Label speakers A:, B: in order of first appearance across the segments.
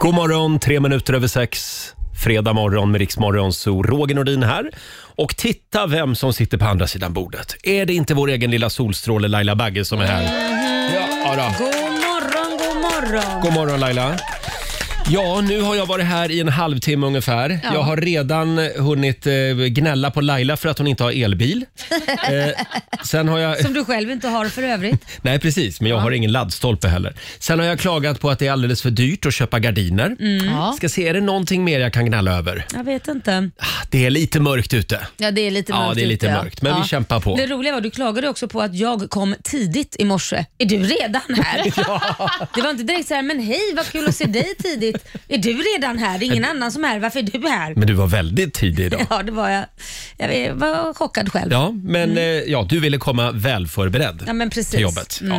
A: God morgon, tre minuter över sex. Fredag morgon med Riksmorgon, så Roger Nordin här. Och titta vem som sitter på andra sidan bordet. Är det inte vår egen lilla solstråle Laila Bagge som är här? Ja, då.
B: God morgon, god morgon.
A: God morgon Laila. Ja, nu har jag varit här i en halvtimme ungefär.
B: Ja.
A: Jag har redan hunnit eh, gnälla på Laila för att hon inte har elbil. Eh, sen har jag...
B: Som du själv inte har för övrigt.
A: Nej, precis. Men jag har ingen laddstolpe heller. Sen har jag klagat på att det är alldeles för dyrt att köpa gardiner.
B: Ja.
A: Ska se, är det någonting mer jag kan gnälla över?
B: Jag vet inte.
A: Ah, Det är lite mörkt ute.
B: Ja, det är lite
A: Ja,
B: mörkt
A: det är lite
B: ute,
A: mörkt, men vi kämpar på.
B: Det roliga var du klagade också på att jag kom tidigt i morse. Är du redan här? Det var inte direkt så här, men hej vad kul att se dig tidigt. Är du redan här? Det är ingen annan som är här. Varför är du här?
A: Men du var väldigt tidig idag.
B: Ja, det var jag. Jag var chockad själv.
A: Ja, men eh, ja, du ville komma väl förberedd
B: Ja, men precis.
A: till jobbet. Ja.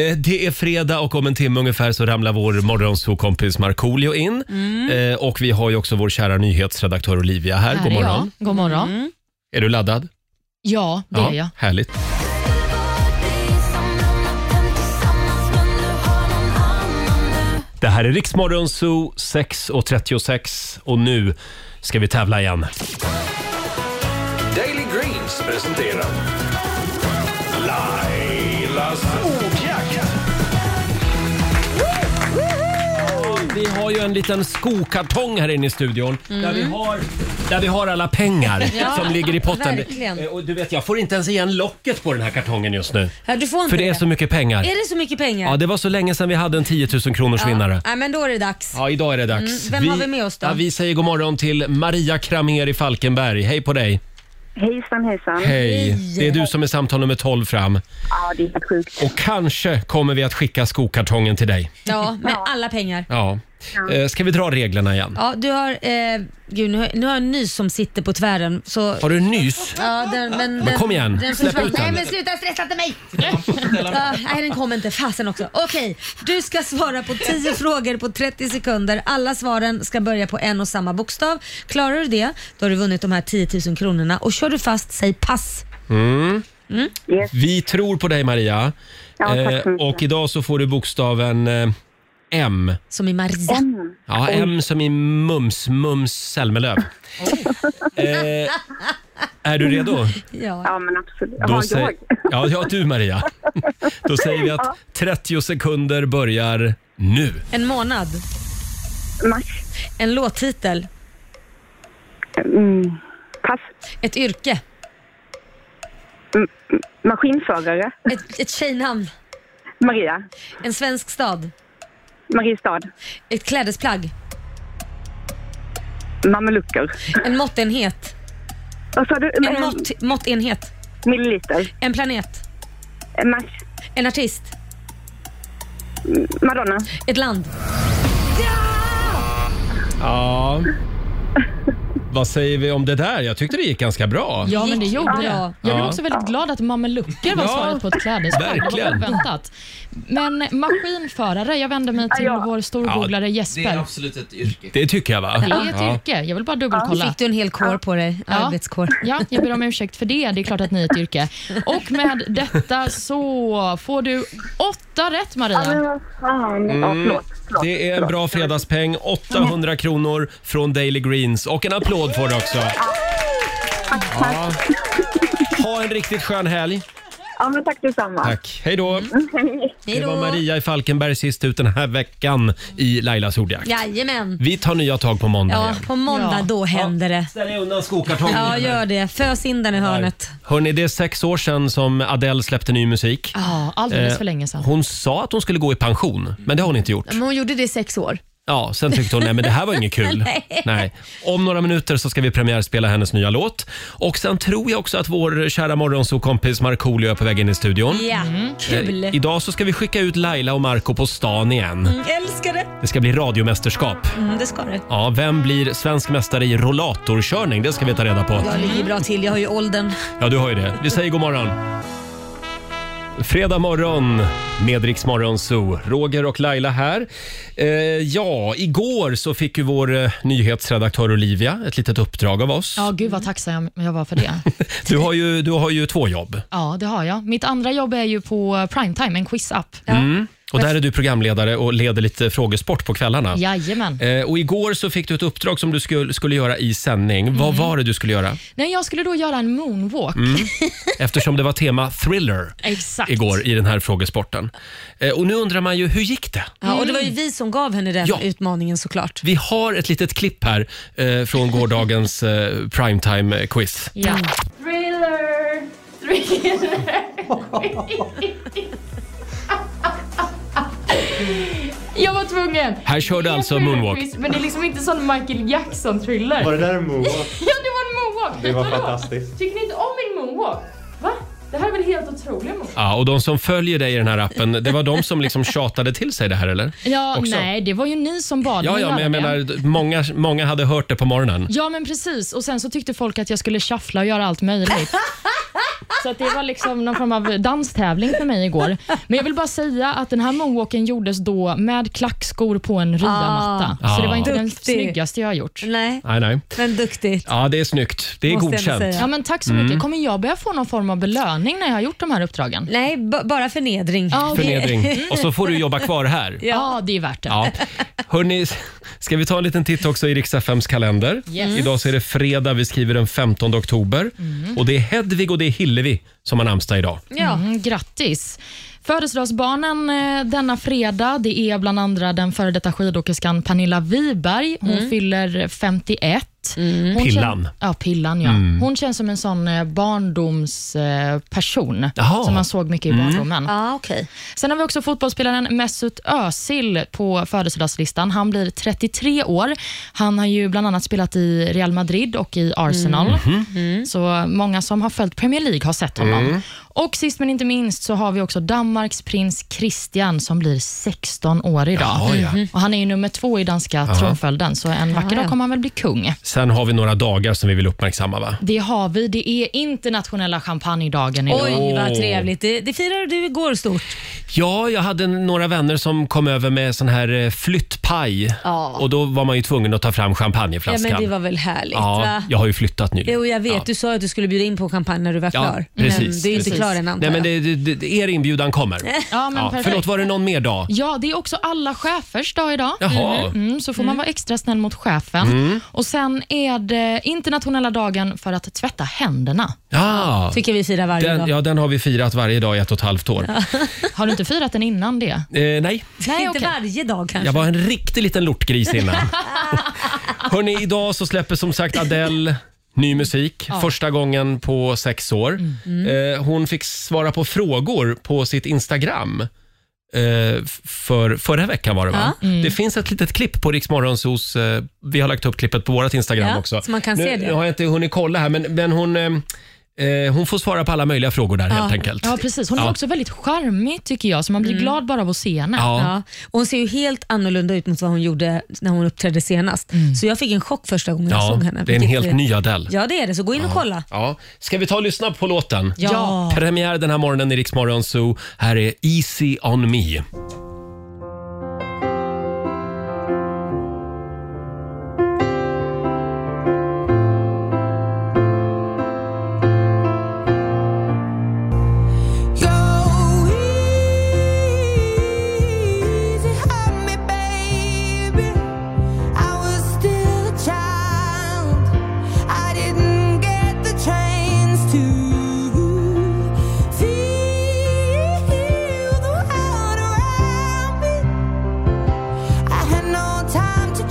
A: Eh, Det är fredag och om en timme ungefär så ramlar vår morgonsokompis Markoolio in. Eh, Och vi har ju också vår kära nyhetsredaktör Olivia här. God
C: är
A: morgon.
C: Jag. God morgon.
A: Är du laddad?
C: Ja, det är jag.
A: Härligt. Det här är Riksmorgon Zoo 6.36 och nu ska vi tävla igen.
D: Daily Greens presenterar Lailas ordjakt.
A: Vi har ju en liten skokartong här inne i studion där, vi har, där vi har alla pengar
B: Mm. Ja,
A: som ligger i potten.
B: verkligen.
A: Eh, Och du vet, jag får inte ens igen locket på den här kartongen just nu.
B: Ja, du får inte
A: För det är så mycket pengar.
B: Är det så mycket pengar?
A: Ja, det var så länge sedan vi hade en 10 000 kronors vinnare.
B: Ja, men då är det dags.
A: Ja, idag är det dags.
B: Mm, vem har vi med oss då?
A: Ja, vi säger god morgon till Maria Kramer i Falkenberg. Hej på dig!
E: Hejsan, hejsan.
A: Hej! Det är du som är samtal nummer 12 fram.
E: Ja, det är helt sjukt.
A: Och kanske kommer vi att skicka skokartongen till dig.
B: Ja, med alla pengar.
A: Ja. Eh, Ska vi dra reglerna igen?
B: Ja, du har... Eh, gud, nu har, nu har jag en ny som sitter på tvären. Så,
A: Har du nys?
B: ja, den, men, den,
A: kom igen,
B: den
A: släpp
B: försvann.
A: ut den.
B: Nej, men sluta stressa inte mig! ja, nej, den kom inte. Fasen också. Okej, du ska svara på 10 frågor på 30 sekunder. Alla svaren ska börja på en och samma bokstav. Klarar du det, då har du vunnit de här 10 000 kronorna. Och kör du fast, säg pass.
A: Mm. Vi tror på dig Maria.
E: Mm. Ja, tack så
A: Eh,
E: mycket.
A: och idag så får du bokstaven eh, M.
B: Som i Maria.
A: Ja, M som i Mums, Mums Zelmerlöw. Eh, är du redo?
B: Ja.
E: Ja, men absolut.
A: Då
E: Har
A: sä-
E: jag?
A: ja, ja, du Maria. Då säger vi att 30 sekunder börjar nu.
B: En månad.
E: Mars?
B: En låttitel.
E: Mm. Pass.
B: Ett yrke.
E: Maskinförare?
B: Ett, ett tjejnamn.
E: Maria?
B: En svensk stad.
E: Mariestad?
B: Ett klädesplagg.
E: Mamelucker?
B: En måttenhet.
E: Vad sa du?
B: En
E: Eh,
B: mått, måttenhet.
E: Milliliter?
B: En planet.
E: Eh, Mars?
B: En artist.
E: Madonna?
B: Ett land.
A: Ja. Vad säger vi om det där? Jag tyckte det gick ganska bra.
C: Ja, men det
B: Gick
C: gjorde
B: bra.
C: det. Jag blev
A: Ja.
C: också väldigt glad att mamelucker var
A: Ja,
C: svaret på ett klädesplagg. Det var
A: verkligen.
C: oväntat. Men maskinförare, jag vänder mig till
E: Ja.
C: vår storgooglare Jesper. Det är,
F: absolut ett yrke.
A: Det tycker jag va?
C: ett
A: Ja.
C: yrke. Jag vill bara
B: Nu
C: dubbelkolla.
B: fick du en hel kår på dig. Arbetskår.
C: Ja, jag ber om ursäkt för det. Det är klart att ni är ett yrke. Och med detta så får du åtta rätt,
E: Men
C: Maria.
E: vad fan? Ja, förlåt. förlåt.
A: Mm, Det är en bra fredagspeng, 800 kronor från Daily Greens och en applåd får du också. Ja. Ha en riktigt skön helg.
E: Ja, men tack detsamma.
A: Tack. Hej då.
E: Hej.
B: Mm. Hej
A: Det var
B: då.
A: Maria i Falkenberg sist ut den här veckan i Lailas ordjakt.
B: Jajamän.
A: Vi tar nya tag på måndag
B: Ja,
A: igen.
B: på måndag
C: Ja.
B: då händer det.
A: Ställ dig undan skokartongen.
B: Ja, gör det. Fös in den i hörnet.
A: Hörni, det är sex år sedan som Adele släppte ny musik.
C: Ja, alldeles
A: Eh,
C: för länge sedan.
A: Hon sa att hon skulle gå i pension, men det har hon inte gjort.
G: Men hon gjorde det i sex år.
A: Ja, sen tyckte hon nej men det här var inget kul. nej. Om några minuter så ska vi premiärspela hennes nya låt. Och sen tror jag också att vår kära morgonsokompis Markoolio är på väg in i studion.
B: Ja, kul.
A: Eh, Idag så ska vi skicka ut Laila och Marco på stan igen.
B: Mm, Älskar det.
A: Det ska bli radiomästerskap.
B: Mm, det ska det.
A: Ja, vem blir svensk mästare i rollatorkörning? Det ska vi ta reda på.
B: Jag ligger bra till. Jag har ju åldern.
A: Ja, du har ju det. Vi säger god morgon. Fredag morgon med Rix Morgon Zoo. Roger och Laila här. Eh, ja, igår så fick ju vår eh, nyhetsredaktör Olivia ett litet uppdrag av oss.
C: Ja, gud vad tacksam jag var för det.
A: Du, har ju, du har ju två jobb.
C: Ja, det har jag. Mitt andra jobb är ju på Primetime, en quizapp.
A: Och där är du programledare och leder lite frågesport på kvällarna.
C: Jajamän.
A: Eh, och igår så fick du ett uppdrag som du skulle, skulle göra i sändning. Vad
C: Mm.
A: var det du skulle göra?
C: Nej, jag skulle då göra en moonwalk.
A: Eftersom det var tema thriller
C: Exakt.
A: Mm. igår i den här frågesporten. Eh, och nu undrar man ju, hur gick det?
B: Ja, och det var ju vi som gav henne den
A: Ja.
B: utmaningen såklart.
A: Vi har ett litet klipp här eh, från gårdagens eh, primetime-quiz.
C: Ja.
F: Thriller! Thriller! Jag var tvungen.
A: Här kör du
F: Det är
A: alltså
F: en
A: moonwalk.
F: thriller-quiz, Men det är liksom inte sån Michael Jackson-thriller.
G: Var det där en moa?
F: Ja, det var en moonwalk!
G: Det var
F: Vadå?
G: fantastiskt.
F: Tycker ni inte om min moonwalk? Va? Det här är väl helt otrolig moonwalk?
A: Ja, och de som följer dig i den här appen, det var de som liksom tjatade till sig det här eller?
C: Ja,
A: Också.
C: nej, det var ju ni som bad
A: Ja,
C: mig
A: ja, men jag
C: göra det.
A: menar, många, många hade hört det på morgonen.
C: Ja, men precis. Och sen så tyckte folk att jag skulle shuffla och göra allt möjligt. Så att det var liksom någon form av danstävling för mig igår. Men jag vill bara säga att den här moonwalken gjordes då med klackskor på en ryamatta.
A: Ah.
C: Så det var inte den
B: Duktig.
C: snyggaste jag har gjort.
B: Nej,
A: Nej, nej.
B: men duktigt.
A: Ja, det är snyggt. Det är
B: Måste jag ändå
A: godkänt.
B: säga.
C: Ja, men tack så
A: Mm.
C: mycket. Kommer jag börja få någon form av belöning när jag har gjort de här uppdragen?
B: Nej, b- bara förnedring.
C: Ja, okej.
A: Förnedring. Och så får du jobba kvar här.
C: Ja, det är värt det.
A: Ja. Hörni, ska vi ta en liten titt också i Rix FMs kalender?
C: Yes.
A: Idag så är det fredag, vi skriver den 15 oktober. Och det är Hedvig och det är Hillevi som har namnsdag idag.
B: Ja.
C: Mm, grattis! Födelsedagsbarnen eh, denna fredag det är bland andra den före detta skidåkerskan Pernilla Wiberg. Hon fyller 51. Hon
A: Pillan. Mm.
C: kän- ja, pillan ja. Hon känns som en sån eh, barndomsperson
A: Jaha. Mm.
C: som man såg mycket i barndomen.
B: Ja, okej.
C: Sen har vi också fotbollsspelaren Mesut Özil på födelsedagslistan. Han blir 33 år. Han har ju bland annat spelat i Real Madrid och i Arsenal.
A: Mm. Mhm.
C: Så många som har följt Premier League har sett honom.
A: Mm.
C: Och sist men inte minst så har vi också Danmarks prins Christian som blir 16 år idag.
A: Jaha, ja.
C: Och han är ju nummer två i danska tronföljden, så en vacker dag kommer han väl bli kung.
A: Sen har vi några dagar som vi vill uppmärksamma va?
C: Det har vi. Det är internationella champagnedagen idag.
B: Oj,
A: Åh.
B: vad trevligt. Det, det firade du igår stort.
A: Ja, jag hade några vänner som kom över med sån här eh, flyttpaj.
B: Ja.
A: Och då var man ju tvungen att ta fram
B: Ja,
A: champagneflaskan.
B: men det var väl härligt?
A: ja,
B: va?
A: jag har ju flyttat nyligen.
B: Jo, jag vet.
A: Ja.
B: Du sa ju att du skulle bjuda in på kampanj när du var
A: Ja,
B: klar. men
A: precis,
B: du är ju inte
A: precis.
B: klar än antar
A: Nej, men
B: jag.
A: det, det, det, er inbjudan kommer.
C: Ja, men
A: Ja,
C: perfekt.
A: förlåt, var det någon mer dag?
C: Ja, det är också alla chefers dag idag.
A: Jaha.
B: Mm-hmm.
C: Mm, så får man vara extra snäll mot chefen.
A: Mm.
C: Och Sen är det internationella dagen för att tvätta händerna.
A: Ja,
B: tycker vi firar varje
A: den,
B: dag.
A: ja, den har vi firat varje dag i ett och ett halvt år.
C: Har du inte firat den innan det?
A: Eh, nej,
C: Nej,
B: inte
C: okej.
B: varje dag kanske.
A: jag var en riktig liten lortgris innan. Hörni, idag så släpper som sagt Adele ny musik. Första gången på sex år.
B: Mm.
A: Eh, hon fick svara på frågor på sitt Instagram. eh, f- För, förra veckan var det va?
B: Mm.
A: Det finns ett litet klipp på Rix Morgonzos, eh, Vi har lagt upp klippet på vårt Instagram
B: Ja,
A: också.
B: så man kan
A: nu,
B: se det.
A: Nu har jag inte hunnit kolla här men, men hon, eh, eh, hon får svara på alla möjliga frågor där helt enkelt.
C: Ja, precis. Hon är
A: Ja. Mm.
C: också väldigt charmig, tycker jag, så man blir glad bara av att se henne.
A: Ja.
B: Ja. Och hon ser ju helt annorlunda ut mot vad hon gjorde när hon uppträdde senast. Så jag fick en chock första gången jag
A: Mm. Ja,
B: såg henne.
A: det är en
B: Vilket
A: helt ny Adele.
B: Ja, det är det. Så gå in och kolla.
A: Ja. Ska vi ta och lyssna på låten?
B: Ja.
A: Premiär den här morgonen i Rix Morgon Zoo. Här är Easy on me.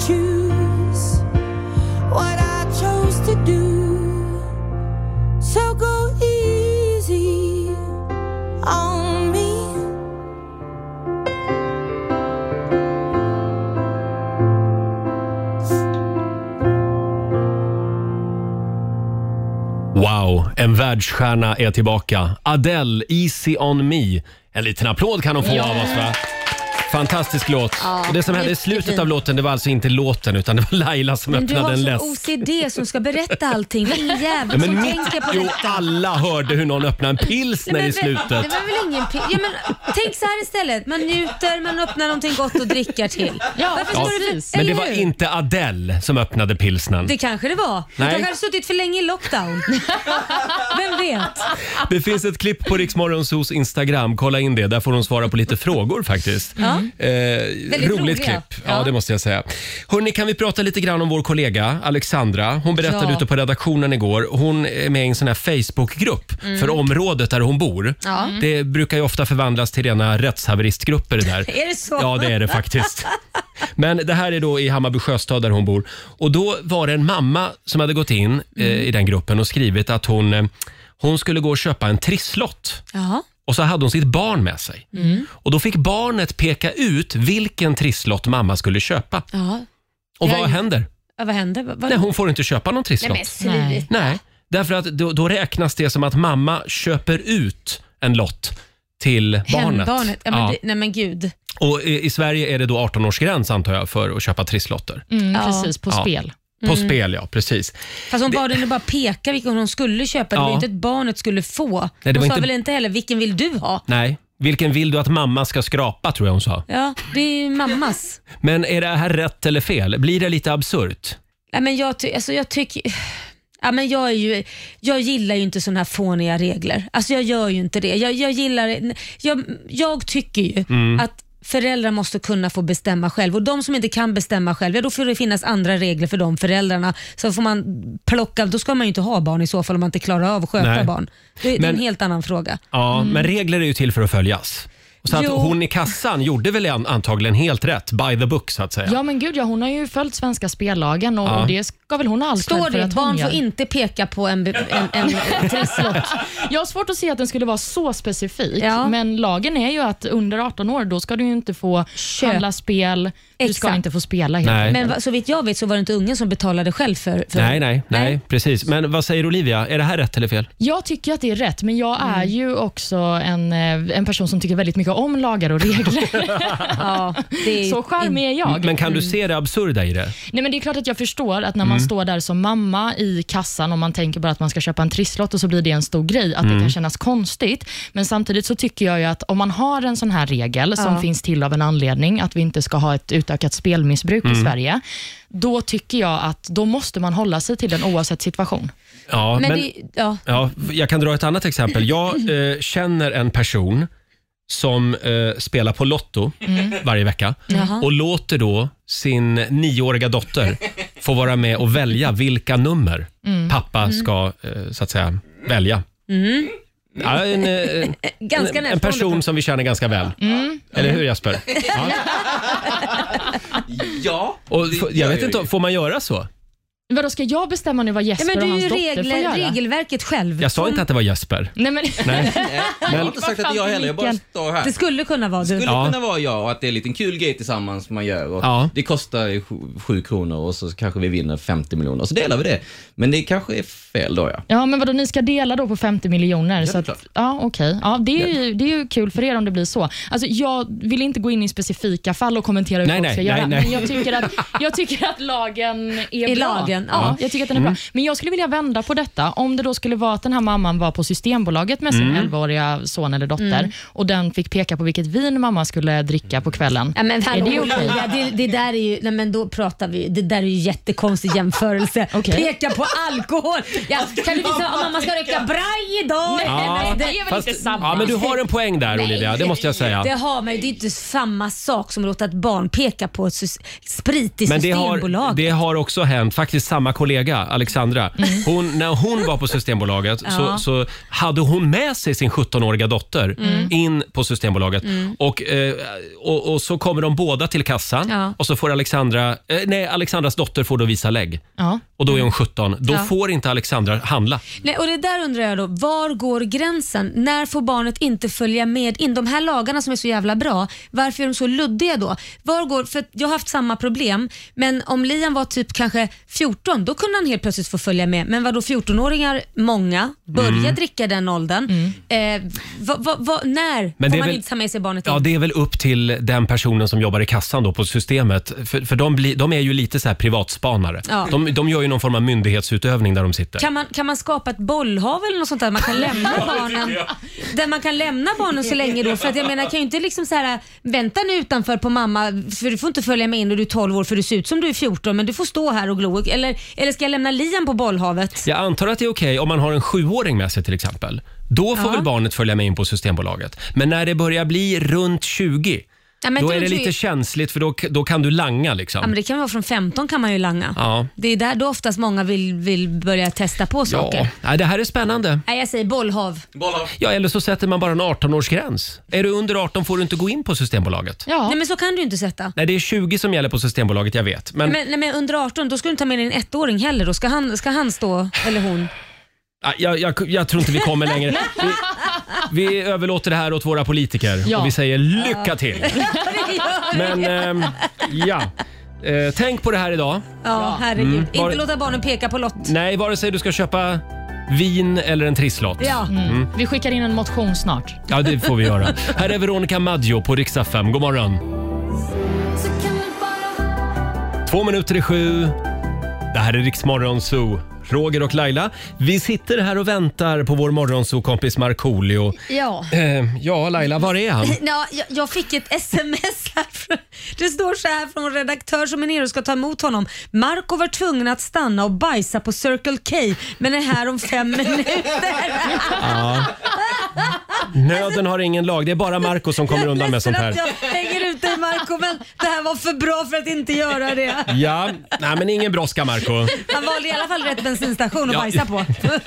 H: Choose what I chose to do. So go easy on me.
A: Wow, en världsstjärna är tillbaka. Adele, Easy on me. En liten applåd kan hon få av oss va? Fantastisk låt.
B: Ja,
A: Och det som hände i
B: mycket
A: slutet
B: fin.
A: av låten, det var alltså inte låten utan det var Laila som
B: Men du
A: öppnade
B: har
A: en
B: sån
A: läsk.
B: OCD som ska berätta allting. Det är ingen
A: Ja,
B: jävel
A: men
B: som
A: mitt,
B: tänker på
A: jo,
B: detta.
A: alla hörde hur någon öppnade en pilsner i
B: men väl-
A: slutet.
B: Det var väl ingen pi- ja, men, Tänk så här istället. Man njuter, man öppnar någonting gott och dricker till.
C: Ja,
B: Varför
C: ja,
B: står det
C: precis.
B: för,
A: Men
B: eller
A: det var
B: hur?
A: inte Adele som öppnade pilsnern.
B: Det kanske det var.
A: Nej.
B: Du kanske hade suttit för länge i lockdown. Vem vet?
A: Det finns ett klipp på Riksmorgonsos Instagram. Kolla in det. Där får hon svara på lite frågor faktiskt. Eh, roligt
B: roliga.
A: klipp. Ja,
B: Ja.
A: det måste jag säga. Hörni, kan vi prata lite grann om vår kollega Alexandra? Hon berättade
B: Ja.
A: ute på redaktionen igår. Hon är med i en sån här Facebookgrupp för området där hon bor.
B: Mm. Ja.
A: Det brukar ju ofta förvandlas till rena rättshaveristgrupper det där.
B: Är det så?
A: Ja, det är det faktiskt. Men det här är då i Hammarby sjöstad där hon bor. Och då var det en mamma som hade gått in eh,
B: Mm.
A: i den gruppen och skrivit att hon, eh, hon skulle gå och köpa en trisslott.
B: Ja.
A: Och så hade hon sitt barn med sig.
B: Mm.
A: Och då fick barnet peka ut vilken trisslott mamma skulle köpa.
B: Ja.
A: Och vad
B: Jag-
A: händer?
B: Ja, Vad hände? Vad- vad-
A: Nej, hon får inte köpa någon
B: Nej, men
A: trisslott.
B: sluta.
A: Nej, därför att då, då räknas det som att mamma köper ut en lott till barnet.
B: Hembarnet. Ja, men
A: Ja.
B: Det, nej men gud.
A: Och i, i Sverige är det då 18-årsgräns antar jag för att köpa trisslotter.
C: Mm,
B: Ja.
C: Precis, på
A: Ja.
C: spel.
A: På
B: Mm.
A: spel ja, precis.
B: Fast hon bad henne bara peka vilken hon skulle köpa. Det
A: Ja.
B: var ju inte ett barnet skulle få.
A: det
B: hon
A: var
B: sa
A: inte-
B: väl inte heller vilken vill du ha?
A: Nej, vilken vill du att mamma ska skrapa tror jag hon sa.
B: Ja, det är ju mammas.
A: Men är det här rätt eller fel? Blir det lite absurt?
B: Nej, men jag, ty- alltså, jag tycker... Ja, men jag, är ju, jag gillar ju inte sådana här fåniga regler. Alltså jag gör ju inte det. Jag, jag, gillar, jag, jag tycker ju
A: Mm.
B: att föräldrar måste kunna få bestämma själv och de som inte kan bestämma själv, ja, då får det finnas andra regler för de föräldrarna. Så får man plocka, då ska man ju inte ha barn i så fall om man inte klarar av att sköta
A: Nej.
B: barn. Det, det är
A: Men-
B: en helt annan fråga.
A: Ja, men regler är ju till för att följas. Så att
B: Mm. Jo.
A: hon i kassan gjorde väl an- antagligen helt rätt, by the book så att säga.
C: Ja, men gud ja, hon har ju följt svenska spellagen och, och det ska väl hon ha allt
B: Står
C: cred för
B: det
C: att hon
B: barn
C: gör.
B: får inte peka på en, be- en, en, en trisslott?
C: Jag har svårt att se att den skulle vara så specifik,
B: Ja.
C: men lagen är ju att under 18 år då ska du ju inte få
B: Köp.
C: handla spel, du ska
B: Exakt.
C: inte få spela helt
A: Nej.
C: enkelt.
B: Men va- så vitt jag vet så var det inte ungen som betalade själv för... för
A: Nej, nej, nej, precis. Men vad säger Olivia? Är det här rätt eller fel?
C: Jag tycker att det är rätt, men jag är
B: Mm.
C: ju också en, eh, en person som tycker väldigt mycket om lagar och regler.
B: Ja, Mm. det är
C: så charmig är jag.
A: Men kan du se det absurda i det?
C: Nej, men det är klart att jag förstår att när
B: Mm.
C: man står där som mamma i kassan och man tänker bara att man ska köpa en trisslott och så blir det en stor grej, att
B: Mm.
C: det kan kännas konstigt. Men samtidigt så tycker jag ju att om man har en sån här regel som finns till av en anledning, att vi inte ska ha ett utökat spelmissbruk
B: Mm.
C: i Sverige, då tycker jag att då måste man hålla sig till den oavsett situation.
A: Ja,
B: Men,
A: men,
B: det, ja,
A: ja, jag kan dra ett annat exempel. Jag eh, känner en person som eh, spelar på Lotto varje vecka
B: Jaha.
A: och låter då sin nioåriga dotter få vara med och välja vilka nummer pappa ska eh, så att säga välja. Ja, en, eh,
B: ganska
A: en, en person som vi känner ganska väl. Eller hur Jesper? Ja.
G: Ja.
A: Och, f- jag vet
G: jag
A: inte,
G: ju.
A: får man göra så?
C: Vadå, ska jag bestämma nu vad
B: Ja,
C: Jesper
B: men
C: och
B: du är
C: hans
B: ju
C: dotter får
B: regler,
C: göra?
B: regelverket själv.
A: Jag sa inte att det var Jesper.
C: Nej, men...
A: Nej.
G: Jag har inte sagt att jag heller, jag bara står här.
B: Det skulle kunna vara du.
G: skulle
A: Ja.
G: kunna vara jag och att det är en liten kul grej tillsammans man gör. Och
A: Ja.
G: Det kostar ju sju- sju kronor och så kanske vi vinner 50 miljoner och så delar vi det. Men det kanske är fel då ja.
C: Ja, men vadå, ni ska dela då på 50 miljoner?
G: det
C: så
G: är
C: att,
G: klart.
C: ja, okej. Ja, det, är ju, det är ju kul för er om det blir så. Alltså, jag vill inte gå in i specifika fall och kommentera hur
A: Nej,
C: folk
A: nej,
C: ska göra,
A: nej, nej.
C: men jag tycker, att, jag tycker att lagen är
B: I
C: bra.
B: lagen, ja.
C: Ja, jag tycker att den är bra. Men jag skulle vilja vända på detta. Om det då skulle vara att den här mamman var på Systembolaget med sin 11-åriga son eller dotter
B: Mm.
C: och den fick peka på vilket vin mamma skulle dricka på kvällen.
B: Ja, men hallå,
C: Är det
B: det,
C: okej?
B: det, det där är ju, nej men då pratar vi, det där är ju jättekonstig jämförelse.
C: Okej.
B: Peka på alkohol. Ja, kan du visa om mamma ska röka braj idag?
A: Ja,
B: alltså, det,
C: är väl
A: fast,
C: inte samma?
A: ja, men du har en poäng där Olivia, det måste jag säga.
B: det har man ju, det är inte samma sak som att låta ett barn peka på ett sys- sprit i
A: Men det har,
B: Systembolaget.
A: det har också hänt, faktiskt samma kollega, Alexandra. Hon, när hon var på Systembolaget så,
B: Mm. Ja. Mm.
A: så hade hon med sig sin 17-åriga dotter Mm. in på Systembolaget. Och, eh, och, och så kommer de båda till kassan
B: Ja.
A: och så får Alexandra, eh, nej, Alexandras dotter får då visa lägg.
C: Ja.
A: Och då är hon 17. Då
B: Mm. Ja.
A: får inte Alexandra handla.
B: Nej, och det där undrar jag då, var går gränsen? När får barnet inte följa med in? De här lagarna som är så jävla bra, varför är de så luddiga då? Var går, för att jag har haft samma problem, men om Liam var typ kanske 14, då kunde han helt plötsligt få följa med. Men vadå 14-åringar, många, börja
A: Mm.
B: dricka i den åldern. Eh, vad- vad- vad- när
A: Men det
B: får
A: är
B: man
A: väl-
B: inte ta med sig barnet
A: Ja,
B: in?
A: det är väl upp till den personen som jobbar i kassan då på systemet. För, för de, blir, de är ju lite så här privatspanare.
B: Ja.
A: De, de gör ju någon form av myndighetsutövning där de sitter.
B: Kan man, kan man skapa ett bollhav eller något sånt där man kan lämna barnen? Där man kan lämna barnen så länge då. För att jag menar, kan ju inte liksom så här, vänta nu utanför på mamma för du får inte följa med in och du är 12 år för du ser ut som du är 14 men du får stå här och glo. Eller, eller ska jag lämna Liam på bollhavet?
A: Jag antar att det är okej om man har en sjuåring med sig till exempel. Då får
B: Ja.
A: väl barnet följa med in på Systembolaget. Men när det börjar bli runt 20,
B: Ja, men
A: då
B: det
A: är det
B: tror
A: lite
B: jag-
A: känsligt för då, då kan du langa
B: Ja, men
A: liksom.
B: det kan vara från 15 kan man ju langa.
A: Ja.
B: Det är där då oftast många vill, vill börja testa på saker.
A: Nej, det här är spännande.
B: Nej, jag säger bollhav.
A: Ja, eller så sätter man bara en 18-årsgräns. Är du under 18 får du inte gå in på Systembolaget.
C: Ja,
B: Nej, men så kan du inte sätta.
A: Nej, det är 20 som gäller på Systembolaget, jag vet. Men,
B: Men, nej, men under 18, då ska du inte ta med din ettåring heller. Då ska han, ska han stå, eller hon.
A: Ah, Jag, jag, jag tror inte vi kommer längre. Vi, vi överlåter det här åt våra politiker
C: Ja.
A: och vi säger lycka till. Men ehm, ja, eh, tänk på det här idag.
B: Ja, Mm. herregud. Inte
A: Var-
B: låta barnen peka på lott.
A: Nej, vare sig du ska köpa vin eller en trisslott.
B: Ja.
C: vi skickar in en motion snart.
A: Ja, det får vi göra. Här är Veronica Maggio på Rix FM. God morgon. Två minuter i sju. Det här är Rix Morgon Zoo. Roger och Laila, vi sitter här och väntar på vår morgonzoo-kompis Markoolio.
B: Ja.
A: Eh, ja, Laila, var är han?
B: Ja, jag, jag fick ett sms här. Från, det står så här från en redaktör som är nere och ska ta emot honom. Marco var tvungen att stanna och bajsa på Circle K men är här om fem minuter.
A: Nöden har ingen lag. Det är bara Marco som kommer undan med sånt här.
B: Ledsen att Jag hänger ut dig Marco men det här var för bra för att inte göra det.
A: Ja, nej men ingen brådska Marco.
B: Han valde i alla fall rätt bensinstation att
A: Ja.
B: bajsa på.
C: Mm.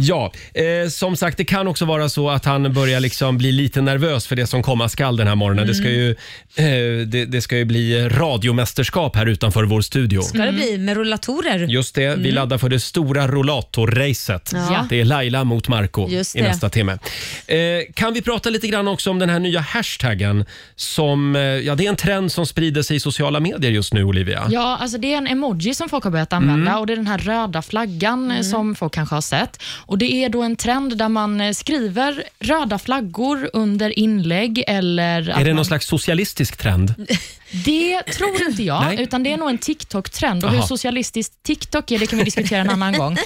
A: Ja, eh, som sagt det kan också vara så att han börjar liksom bli lite nervös för det som komma skall den här morgonen. Det, ska ju, eh, det, det ska ju bli radiomästerskap här utanför vår studio.
B: Ska det bli med rullatorer?
A: Just det, vi laddar för det stora rollatorracet.
C: Ja.
A: Det är Laila mot Marco
B: Just
A: i
B: det.
A: nästa timme. Eh, kan vi prata lite grann också om den här nya hashtaggen som, eh, ja det är en trend som sprider sig i sociala medier just nu Olivia.
C: Ja, alltså det är en emoji som folk har börjat använda
A: Mm.
C: och det är den här röda flaggan eh, som folk kanske har sett. Och Det är då en trend där man eh, skriver röda flaggor under inlägg eller...
A: Är det någon slags socialistisk trend?
C: Det tror inte jag,
A: Nej.
C: utan det är nog en TikTok-trend. Och
A: Aha.
C: hur socialistiskt TikTok är, det kan vi diskutera en annan gång.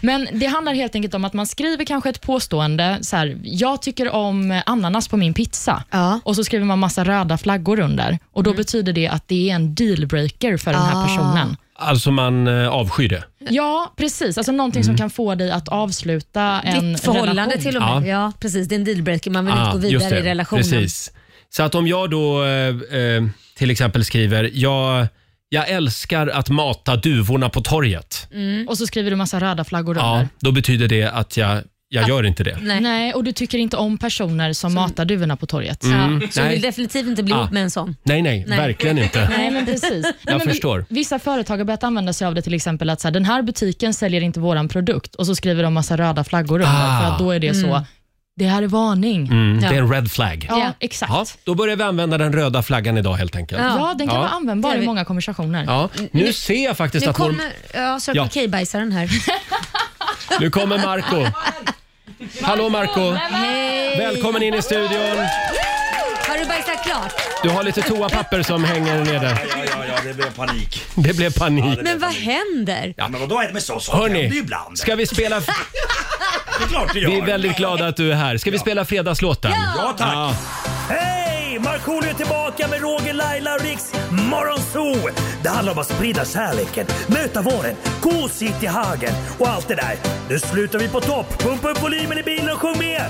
C: Men det handlar helt enkelt om att man skriver kanske ett påstående, så här, jag tycker om ananas på min pizza.
B: Ja.
C: Och så skriver man massa röda flaggor under. Och
A: Mm.
C: Då betyder det att det är en dealbreaker för den här
A: Ah.
C: personen.
A: Alltså man eh, avskyr det.
C: Ja, precis. Alltså någonting
A: Mm.
C: som kan få dig att avsluta en
B: Ditt förhållande
C: relation.
B: till och med. Ja. precis. Det är en dealbreaker. Man vill inte gå
A: Ah, just
B: vidare
A: det.
B: i relationen.
A: Precis. Så att om jag då eh, eh, till exempel skriver jag, jag älskar att mata duvorna på torget.
B: Mm.
C: Och så skriver du massa röda flaggor
A: Ja,
C: under.
A: då betyder det att jag, jag gör inte det.
B: Nej.
C: Nej, och du tycker inte om personer som matar duvorna på torget.
A: Mm.
B: Ja, så du
A: Nej.
B: vill definitivt inte bli
A: Ah.
B: ihop med en sån.
A: Nej, nej,
B: Nej.
A: verkligen inte.
C: Nej, men precis. Nej,
A: Jag
C: men vi-
A: förstår.
C: Vissa företag har börjat använda sig av det, till exempel att så här, den här butiken säljer inte våran produkt och så skriver de massa röda flaggor under,
A: Ah.
C: för att då är det så, det här är varning.
A: Mm,
B: Ja.
A: Det är en red flag.
C: Ja,
B: Ja.
C: exakt.
A: Ja,
C: Ja.
A: då börjar vi använda den röda flaggan idag helt enkelt.
B: Ja.
C: den kan
A: Ja.
C: vara användbar
B: Det är
C: i
B: vi.
C: många konversationer.
A: Ja, nu ser jag faktiskt
B: Nu
A: att vår,
B: kommer ja, Circle
A: Ja.
B: K-bajsaren här.
A: nu kommer Marco Hallå Marco
B: Hej!
A: Välkommen in i studion.
B: Har du bajsat klart?
A: Du har lite toapapper som hänger nere.
D: Ja, ja, ja, det blev panik.
A: Det blev panik.
B: Men vad händer?
D: Ja, men vadå, men så saker händer ju
A: Hörni,
D: ibland.
A: ska vi spela...
D: Det är klart det gör.
A: Vi är väldigt glada att du är här. Ska vi spela fredagslåten?
D: Ja, tack.
A: Ja.
I: Hej! Markoolio är tillbaka med Roger, Laila och Riks Morgonzoo! Det handlar om att sprida kärleken, möta våren, gosigt i hagen och allt det där. Nu slutar vi på topp! Pumpa upp volymen i bilen och sjung med!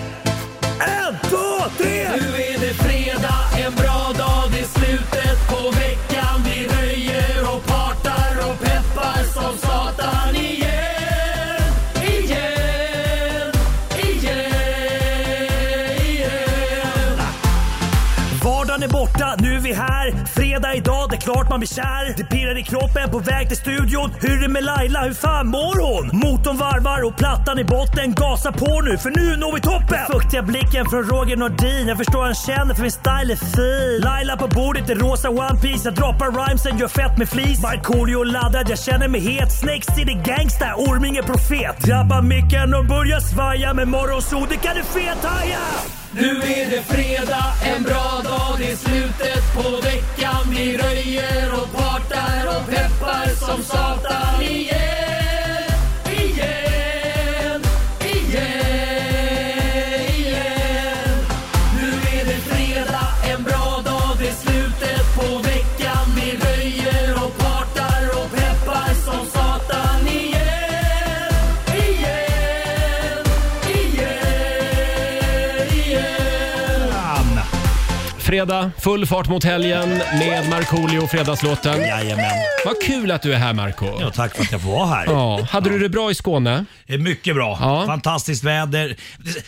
I: En, två, tre!
D: Nu är det fredag, en bra dag, det är slutet på veckan. Vi röjer och partar och peppar som satan igen. Igen, igen, igen.
I: Vardagen är borta, nu är vi här. Fredag idag, det är klart man blir kär. Det pirrar i kroppen på väg till studion. Hur är det med Laila, hur fan mår hon? Motorn varvar och plattan i botten. Gasa på nu, för nu når vi toppen! Den Fuktiga blicken från Roger Nordin. Jag förstår han känner för min style är fin. Laila på bordet i rosa One Piece Jag droppar rhymesen, gör fett med flis. Markoolio laddad, jag känner mig het. Snake City gangsta, Orminge profet. Drabbar micken och börjar svaja. Med morgonsol, det kan du fethaja!
D: Nu är det fredag, en bra dag, det är slutet på veckan. Vi röjer och partar och peppar som satan igen. Igen, igen, igen. Nu är det fredag, en bra dag, det är slutet på veckan. Vi röjer och partar och peppar som satan igen. Igen, igen, igen.
A: Fredag, full fart mot helgen med Markoolio och Fredagslåten.
I: Jajamän.
A: Vad kul att du är här Marco.
I: Ja, tack för att jag får vara här.
A: Ja, hade du det bra i Skåne?
I: Det är mycket bra.
A: Ja.
I: Fantastiskt väder.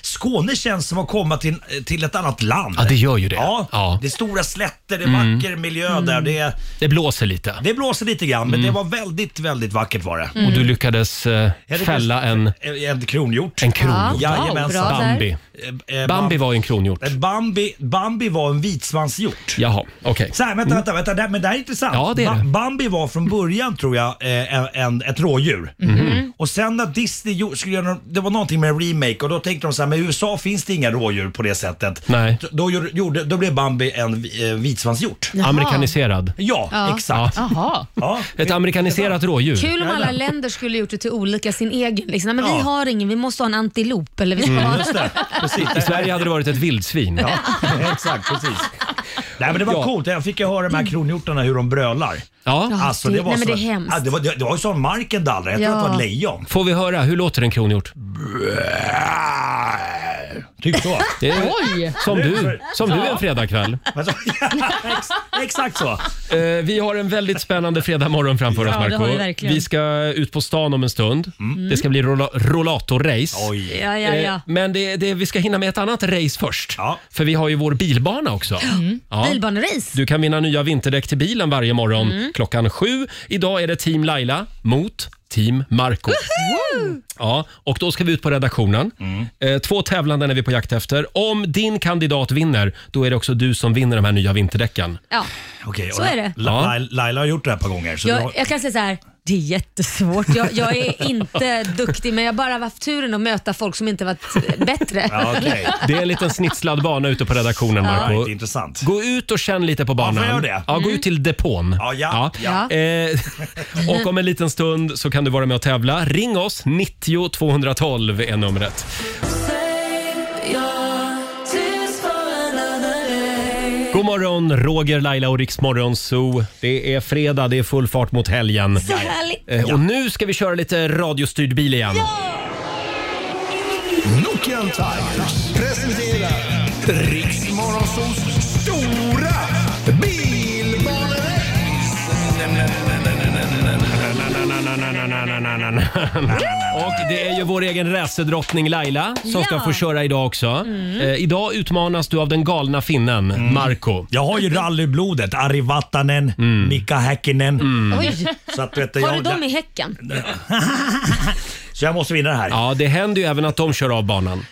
I: Skåne känns som att komma till, till ett annat land.
A: Ja, det gör ju det.
I: Ja,
A: Ja. Mm.
I: Det är stora slätter, det är vacker miljö där. Det, är-
A: Det blåser lite
I: det blåser lite grann, men
A: Mm.
I: det var väldigt, väldigt vackert var det.
A: och du lyckades eh,
I: lyckades-
A: Mm. fälla en,
I: En kronhjort.
A: en kron.
B: Ja, wow,
I: Jajamensan.
B: bra där.
A: Bambi.
I: Eh, eh,
A: Bambi
I: Bam-
A: var ju en kronhjort.
I: eh, Bambi, Bambi var en vitsvanshjort.
A: Jaha, okej.
I: Så här, vänta, vänta, vänta, det här- men det här är intressant.
A: Mm. Ja, det är det.
I: Bambi var från början tror jag eh, en, en, ett rådjur.
A: Mhm.
B: Mm.
I: Och sen när Disney gjorde- skulle göra, någon- det var någonting med en remake och då tänkte de så här, men i USA finns det inga rådjur på det sättet.
A: Nej.
I: Då, då, gjorde- gjorde, då blev Bambi en vi- eh, vitsvanshjort. Ja,
A: Amerikaniserad.
I: exakt. Ja.
C: Jaha.
A: Ett amerikaniserat rådjur.
B: Kul om alla länder skulle gjort det till olika sin egen. Liksom. Nej, men
I: Ja.
B: Vi har ingen, vi måste ha en antilop. Eller vi
A: Mm,
B: ska ha...
I: Just det, precis.
A: I Sverige hade det varit ett vildsvin.
I: Ja, exakt, precis. Nej men det var
A: Ja.
I: coolt, jag fick ju höra de här kronhjortarna hur de brölar.
A: Ja.
I: Alltså, det
B: Mm. det-
I: var
B: nej, men
I: så-
B: det är hemskt.
I: Ja, det, var, det, det var ju sån marken dallrade, jag trodde att det var ett
B: Ja.
I: lejon.
A: Får vi höra, hur låter en kronhjort?
I: Typ så.
A: Det är,
C: Oj!
A: som du, som du en fredagkväll.
I: Alltså, ex, exakt så.
A: Eh, vi har en väldigt spännande fredag morgon framför oss,
B: Ja, det
A: Marco.
B: har vi verkligen.
A: vi ska ut på stan om en stund. Det ska bli rolla- rollator-race.
I: Oj.
B: Ja, ja, ja.
A: Eh, Men det, det, vi ska hinna med ett annat race först.
I: Ja.
A: För vi har ju vår bilbana också. Mm. Ja.
B: Bilbanerace.
A: Du kan vinna nya vinterdäck till bilen varje morgon
B: Mm.
A: klockan sju. Idag är det Team Laila mot Team Marco. Ja, och då ska vi ut på redaktionen.
I: Mm.
A: Eh, två tävlanden är vi på jakt efter. Om din kandidat vinner, då är det också du som vinner de här nya vinterdäcken.
B: Ja.
I: Okej, och
B: Så är det.
I: La- La- Laila har gjort det här ett par gånger. Så du
B: Jag,
I: har,
B: jag kan säga så här. Det är jättesvårt. Jag, jag är inte duktig men jag har bara haft turen att möta folk som inte varit bättre.
I: ja, okej.
A: Det är en liten snitslad bana ute på redaktionen,
I: Right,
A: Marco.
I: det är intressant.
A: Gå ut och känn lite på banan.
I: får jag göra det? Mm.
A: Ja, Gå ut till depån.
I: Ja, ja,
B: ja.
A: Eh, och om en liten stund så kan du vara med och tävla. Ring oss, 90 212 är numret. God morgon, Roger, Laila och Riksmorgon Zoo. Det är fredag, det är full fart mot helgen.
B: Så härligt.
A: Eh, och nu ska vi köra lite radiostyrd bil igen.
J: Nokian Tigers presenterar Riksmorgonsols stora
A: Och det är ju vår egen racerdrottning Laila som ska
B: Ja. Mm.
A: få köra idag också. Eh, idag utmanas du av den galna finnen Marco.
I: Jag har ju rallyblodet. Ari Vatanen,
J: Mm.
I: Mika Häkkinen.
B: Oj.
I: Så, att, vet du,
B: Har du
I: jag,
B: dem i häcken?
I: så jag måste vinna det här. Ja,
A: Ja, det händer ju även att de kör av banan.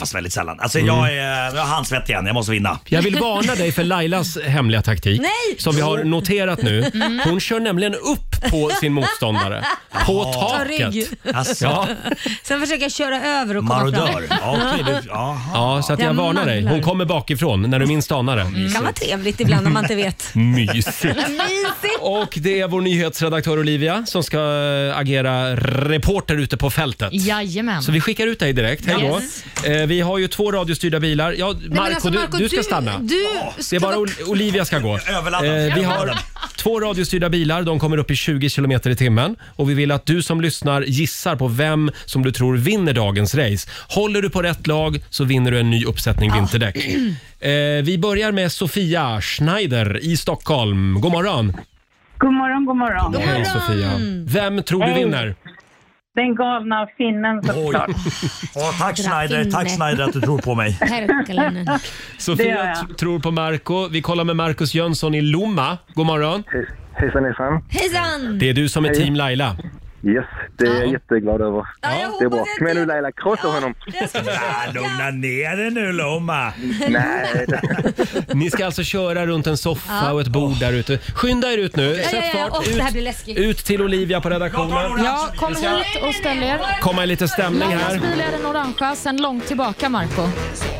I: fast väldigt sällan. Alltså, jag
B: Mm.
I: är jag har handsvett igen. Jag måste vinna.
A: Jag vill varna dig för Lailas hemliga taktik
B: Nej! Mm.
A: som vi har noterat nu. Hon kör nämligen upp på sin motståndare. På taket.
B: rygg.
I: Alltså,
A: Ja,
B: Sen försöker jag köra över och komma fram.
I: Marodör. Ja, okej, du, jaha.
A: ja, så att jag
B: Jag
A: varnar dig. Hon
B: mallar.
A: kommer bakifrån när du minst anar det.
B: Det kan vara trevligt ibland om man inte vet.
A: Mysigt.
B: Mysigt.
A: Och det är vår nyhetsredaktör Olivia som ska eh, agera reporter ute på fältet.
C: Jajamän.
A: Så vi skickar ut dig direkt. Hej då.
B: Yes.
A: Eh, vi har ju två radiostyrda bilar. Ja,
B: Nej,
A: Marco,
B: men alltså, Marco,
A: du, du ska stanna.
B: Du
A: Det
B: ska
A: är bara
B: vara
A: Ol- Olivia ska gå. Eh,
I: Överladdad.
A: vi har
I: Överladdad.
A: två radiostyrda bilar. De kommer upp i 20 km i timmen. Och vi vill att du som lyssnar gissar på vem som du tror vinner dagens race. Håller du på rätt lag så vinner du en ny uppsättning vinterdäck. Eh, vi börjar med Sofia Schneider i Stockholm. God morgon!
E: God morgon, god morgon.
A: Hej Sofia! Vem tror du vinner?
K: Den galna finnen såklart.
I: Åh, tack Schneider, tack Schneider att du tror på mig.
K: Perkeleinen. Det gör
A: Sofia
K: jag.
A: t- tror på Marco. Vi kollar med Marcus Jönsson i Lomma. God morgon.
L: Hejsan hejsan.
B: Hejsan!
A: Det är du som är team Laila.
L: Yes, det är jag jätteglad över. det är bra. Kom igen nu Laila, krossa honom.
I: Ah, lugna ner dig nu Lomma.
L: Nej.
A: Ni ska alltså köra runt en soffa
B: Ja.
A: och ett bord där ute. Skynda er ut nu.
B: Ja, ja,
A: Sätt
B: ja.
A: fart.
B: Åh, det här blir
A: Ut,
B: läskigt.
A: ut till Olivia på redaktionen.
C: Ja, kom hit och ställ er.
A: Komma i lite stämning
C: Lailas
A: här.
C: bil är den orangea, sen långt tillbaka Marco.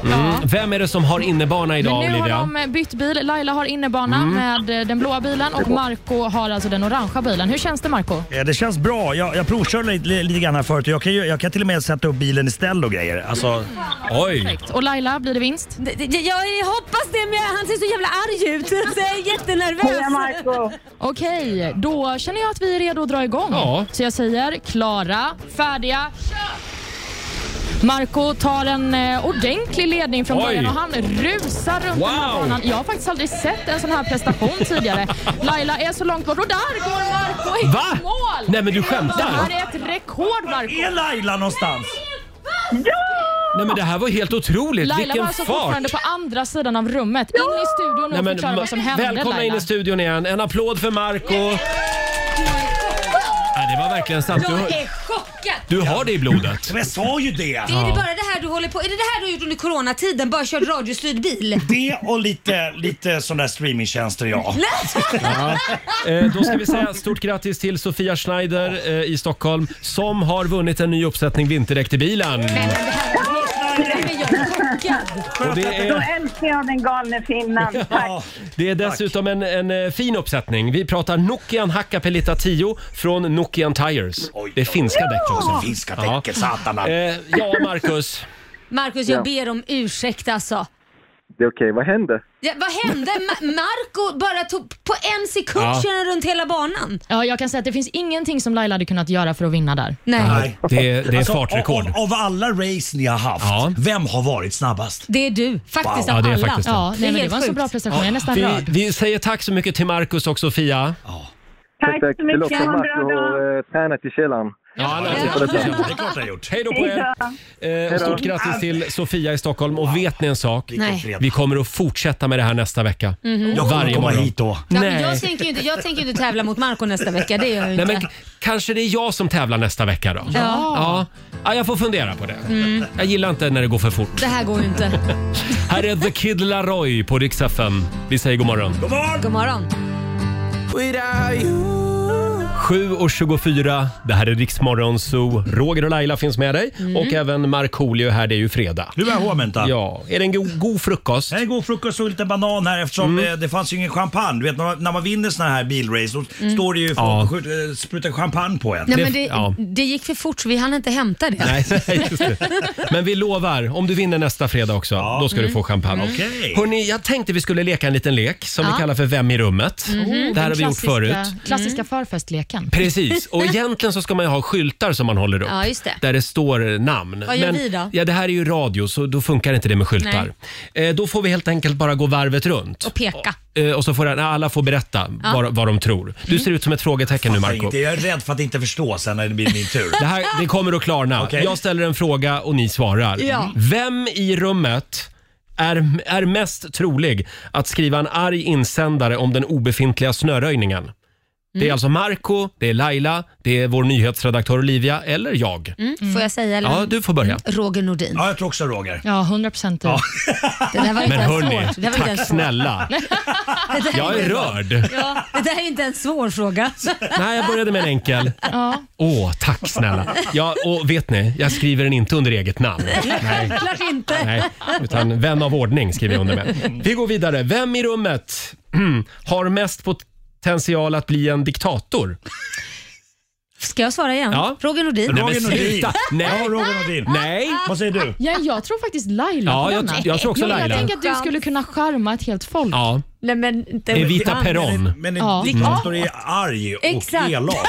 A: Mm. Vem är det som har innebana idag
C: Men nu har
A: Olivia?
C: de eh, bytt bil. Laila har innebana
A: Mm.
C: med eh, den blåa bilen och Marco har alltså den orangea bilen. Hur känns det Marco?
I: Ja, Eh, det känns bra. Jag, jag provkörde lite, lite grann här förut. Jag kan, ju, jag kan till och med sätta upp bilen i ställ och grejer. Alltså,
A: Oj!
C: Och Laila, blir det vinst?
B: Jag hoppas det, men han ser så jävla arg ut. Så jag är jättenervös.
C: Heja, Marco. Okej, då känner jag att vi är redo att dra igång.
B: Ja.
C: Så jag säger klara, färdiga, kör! Marco tar en eh, ordentlig ledning från
D: Oj.
C: början och han rusar runt
D: Wow.
C: den här banan. Jag har faktiskt aldrig sett en sån här prestation tidigare. Laila är så långt bort och där går Marco i
I: Va?
C: mål!
I: Nej, men du skämtar.
C: Det här är ett rekord Marco.
I: är Laila någonstans?
A: Nej men det här var helt otroligt.
C: Laila var
A: Vilken
C: alltså
A: fart!
C: fortfarande på andra sidan av rummet. In i studion och
A: Nej, men,
C: förklara vad som hände
A: välkomna
C: Laila.
A: in i studion igen. En applåd för Marco. Ja, det var verkligen sant.
B: Jag
A: Du,
B: är chockad.
A: du har det i blodet.
I: Jag sa ju det.
B: Det är det bara det här du håller på Är det det här du har gjort under coronatiden? Bara kört radiostyrd bil?
I: Det och lite, lite sådana där streamingtjänster ja.
A: Ja. Eh, Då ska vi säga stort grattis till Sofia Schneider eh, i Stockholm som har vunnit en ny uppsättning vinterdäck till bilen.
B: Men jag är chockad.
A: Och det är-
K: Då älskar jag den galne finnen. Tack.
A: Det är dessutom en, en eh, fin uppsättning. Vi pratar Nokian Hakkapeliitta 10 från Nokian Tires. Det är finska
B: oj.
A: däck också.
B: Ja.
I: Finska däcket, satanan.
A: Eh, Ja, Marcus.
B: Marcus, jag
L: Ja.
B: ber om ursäkt alltså.
L: Det är okej, vad hände?
B: Ja, vad hände? Ma- Marco bara tog på en sekund
L: Ja.
B: körde han runt hela banan.
C: Ja, jag kan säga att det finns ingenting som Laila hade kunnat göra för att vinna där.
A: Nej, det, det är fartrekord.
I: Alltså, Av, av, av alla race ni har haft, vem har varit snabbast?
B: Det är du. Faktiskt
I: Wow.
B: av
I: Ja, det är
B: alla.
I: faktiskt det. Ja,
C: nej, men det
B: helt
C: var en så
B: sjukt.
C: bra prestation. Jag är nästan
A: Vi,
C: rörd.
A: vi säger tack så mycket till Marcus och Sofia.
L: Tack så Det låter
B: mycket.
L: som att du har eh, tränat i källaren.
A: Ja, han har
L: Tack för
A: tränat i
L: detta.
A: källaren. Det är klart jag har gjort. Hej då på er. Eh, och stort grattis till Sofia i Stockholm. Och vet ni en sak?
B: Nej.
A: Vi kommer att fortsätta med det här nästa vecka.
B: Mhm. Jag kommer
A: Varje
I: komma
A: morgon.
I: hit då.
B: Ja,
A: Nej.
B: men jag, tänker ju inte, jag tänker ju inte tävla mot Marco nästa vecka. Det gör jag ju
A: Nej,
B: inte.
A: men k- kanske det är jag som tävlar nästa vecka då.
B: Ja.
A: ja. Ja, jag får fundera på det.
B: Mm.
A: Jag gillar inte när det går för fort.
B: Det här går ju inte.
A: Här är The Kid Laroi på Rix FM. Vi säger god morgon.
I: God morgon!
B: God morgon.
A: 7.24, det här är Rix Morgon Zoo. Roger och Laila finns med dig
I: Mm.
A: och även Markoolio här, det är ju fredag.
I: Nu är jag hårdmänta.
A: Ja, är det en go- god frukost?
I: En god frukost och lite banan här eftersom
A: Mm.
I: eh, det fanns ju ingen champagne. Du vet när man, när man vinner såna här bilrace då
B: Mm.
I: står det ju folk
A: Ja.
I: och skjuter- eh, sprutar champagne på en.
B: Nej, men det, det gick för fort så vi hann inte hämta det.
A: Nej, nej, just det. Men vi lovar, om du vinner nästa fredag också, då ska du
B: Mm.
A: få champagne.
B: Mm. Okej.
A: Hörrni, jag tänkte vi skulle leka en liten lek som
C: Ja.
A: vi kallar för Vem i rummet?
C: Mhm.
A: Det här har vi
C: Den
A: gjort förut.
C: klassiska- Klassiska förfestleken.
A: Precis, och egentligen så ska man ju ha skyltar som man håller upp.
C: Ja, just det.
A: Där det står namn.
C: Vad gör vi då?
A: Ja, det här är ju radio så då funkar inte det med skyltar. Eh, då får vi helt enkelt bara gå varvet runt.
B: Och peka.
A: Eh, och så får alla- alla får berätta
B: Ja.
A: vad, vad de tror. Du ser ut som ett frågetecken nu
I: Fattar
A: Marco.
I: inte. Jag är rädd för att inte förstå sen när det blir min tur.
A: Det, här, det kommer att klarna.
I: Okej.
A: Jag ställer en fråga och ni svarar.
I: Ja.
A: Vem i rummet är, är mest trolig att skriva en arg insändare om den obefintliga snöröjningen?
C: Mm.
A: Det är alltså Marco, det är Laila, det är vår nyhetsredaktör Olivia eller jag.
B: Mm. Får jag säga eller?
A: Ja, du får
C: Mm.
A: börja.
B: Roger Nordin.
I: Ja, jag tror också Roger.
C: Ja, 100 procent du.
B: Det där var
A: Men
B: inte ens
A: hörni,
B: svårt. Det där var inte
A: tack
B: ens svårt.
A: snälla.
B: Det där
A: Jag är
B: inte-
A: rörd.
B: Ja, det där är inte en svår fråga.
A: Nej, jag började med en enkel.
C: Ja.
A: Åh, tack snälla. Ja, och vet ni, jag skriver den inte under eget namn.
B: Självklart inte.
A: Nej, utan vän av ordning skriver jag under med. Vi går vidare. Vem i rummet har mest potential att bli en diktator?
B: Ska jag svara igen?
A: Ja.
B: Roger Nordin.
A: Nej, men sluta. Nej. Nej.
I: Vad säger du?
C: Ja, jag tror faktiskt Laila
A: Ja,
C: på
A: jag-
C: denna.
A: jag tror också Laila.
C: Jag tänker att du skulle kunna charma ett helt folk.
A: Ja.
B: Nej, men inte
A: Evita
B: fan.
A: Peron.
I: Men en
C: Ja.
I: diktator
A: Mm.
I: är arg och
B: Exakt.
I: elak.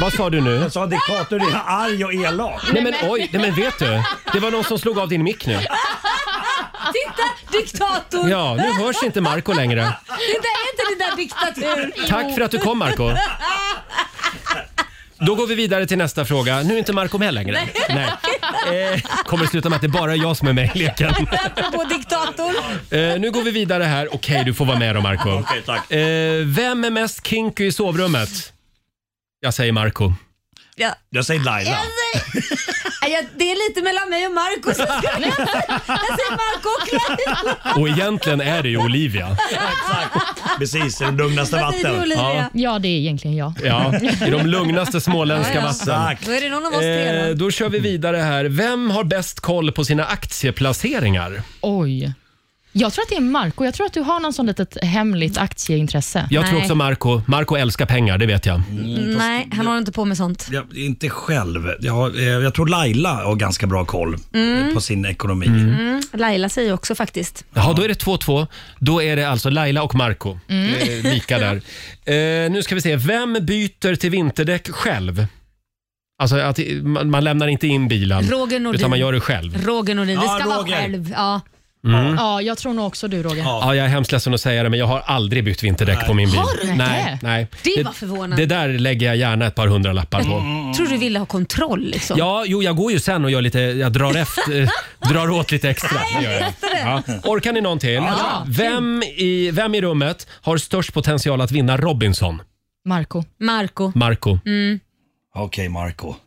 A: Vad sa du nu? Jag
I: sa diktator är arg och elak.
A: Nej men oj, nej men vet du? Det var någon som slog av din mick nu.
B: Titta, diktator!
A: Ja, nu hörs inte Marco längre.
B: Det där är inte det där diktatur.
A: Tack för att du kom Marco Då går vi vidare till nästa fråga. Nu är inte Marco med längre. Nej. Eh, kommer sluta med att det är bara jag som är med i leken.
B: Apropå diktator.
A: Eh, nu går vi vidare här. Okej, du får vara med då Marco.
I: Okej, tack.
A: Eh, vem är mest kinky i sovrummet? Jag säger Marco.
B: Ja.
I: Jag säger Laila.
B: Nej, jag- Det är lite mellan mig och Marco. så Jag skulle- jag säger Marco och Laila.
A: Och egentligen är det ju Olivia.
I: Precis, det lugnaste
B: Vad säger du,
I: vatten.
B: Olivia?
C: Ja, det är egentligen jag.
A: Ja, i de lugnaste småländska
B: Ja, ja.
A: vatten.
B: Då är det någon av oss tre då.
A: då kör vi vidare här. Vem har bäst koll på sina aktieplaceringar?
C: Oj. Jag tror att det är Marco. Jag tror att du har någon sån litet hemligt aktieintresse.
A: Jag tror också Marco. Marco älskar pengar, det vet jag.
B: Nej, han håller inte på med sånt.
I: Jag, inte själv. Jag, eh, jag tror Laila har ganska bra koll eh,
B: Mm.
I: på sin ekonomi.
B: Mm. Laila säger också faktiskt.
A: Jaha, då är det 2-2. Då är det alltså Laila och Marco
B: Mm.
A: Det är lika där. Eh, nu ska vi se. Vem byter till vinterdäck själv? Alltså att i- man, man lämnar inte in bilen,
B: Roger Nordin.
A: utan man gör det själv.
B: Roger Nordin. Det
C: Ja,
B: ska vara
C: Roger.
B: själv. Ja.
A: Mm.
C: Ja, jag tror nog också du Roger.
A: Ja, jag är hemskt ledsen att säga det, men jag har aldrig bytt vinterdäck på min bil.
B: Har du inte?
A: Nej, nej.
B: Det var förvånande. Mm.
A: Det där lägger jag gärna ett par hundra lappar på.
B: Tror du ville ha kontroll liksom?
A: Ja, jo, jag går ju sen och gör lite, jag drar, efter, eh, drar åt lite extra. Det gör jag. Ja. Orkar ni någon till?
C: Ja.
A: Vem, i, vem i rummet har störst potential att vinna Robinson?
C: Marco.
B: Marco.
A: Marco.
B: Mm.
I: Okej, Marco.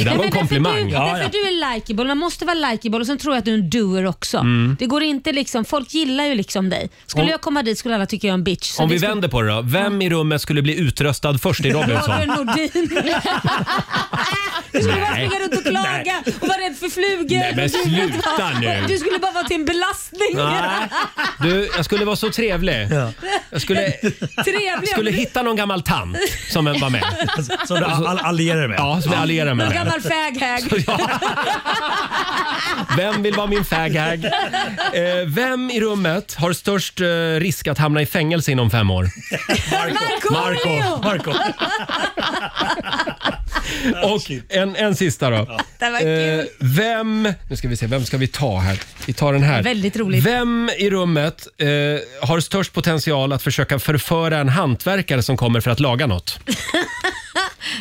A: där, det där var en komplimang.
B: Du, Därför du är likeable. Man måste vara likeable och sen tror jag att du är en doer också.
A: Mm.
B: Det går inte liksom, folk gillar ju liksom dig. Skulle
A: Om-
B: jag komma dit skulle alla tycka jag är en bitch. Så
A: Om
B: det
A: vi
B: skulle-
A: vänder på det då. Vem i rummet skulle bli utröstad först i Robinson?
B: Roger Nordin. Du skulle bara
A: Nej.
B: springa runt och klaga och vara rädd för flugor.
A: Nej, men
B: Du skulle inte
A: sluta
B: vara-
A: nu.
B: Du skulle bara vara till en belastning.
A: Nej. Du, jag skulle vara så trevlig. Jag skulle,
B: Trevlig.
A: skulle hitta någon gammal tant som var med.
I: Som du all- allierar med?
A: Ja, som jag allierar
B: Någon
A: med.
B: gammal faghag.
A: Vem vill vara min faghag? Eh, vem i rummet har störst eh, risk att hamna i fängelse inom fem år?
B: Marco.
A: Marco. Marco. Och en, en sista då.
B: Det var
A: Eh, vem, nu ska vi se, vem ska vi ta här? Vi tar den här.
B: Väldigt roligt.
A: Vem i rummet eh, har störst potential att försöka förföra en hantverkare som kommer för att laga något?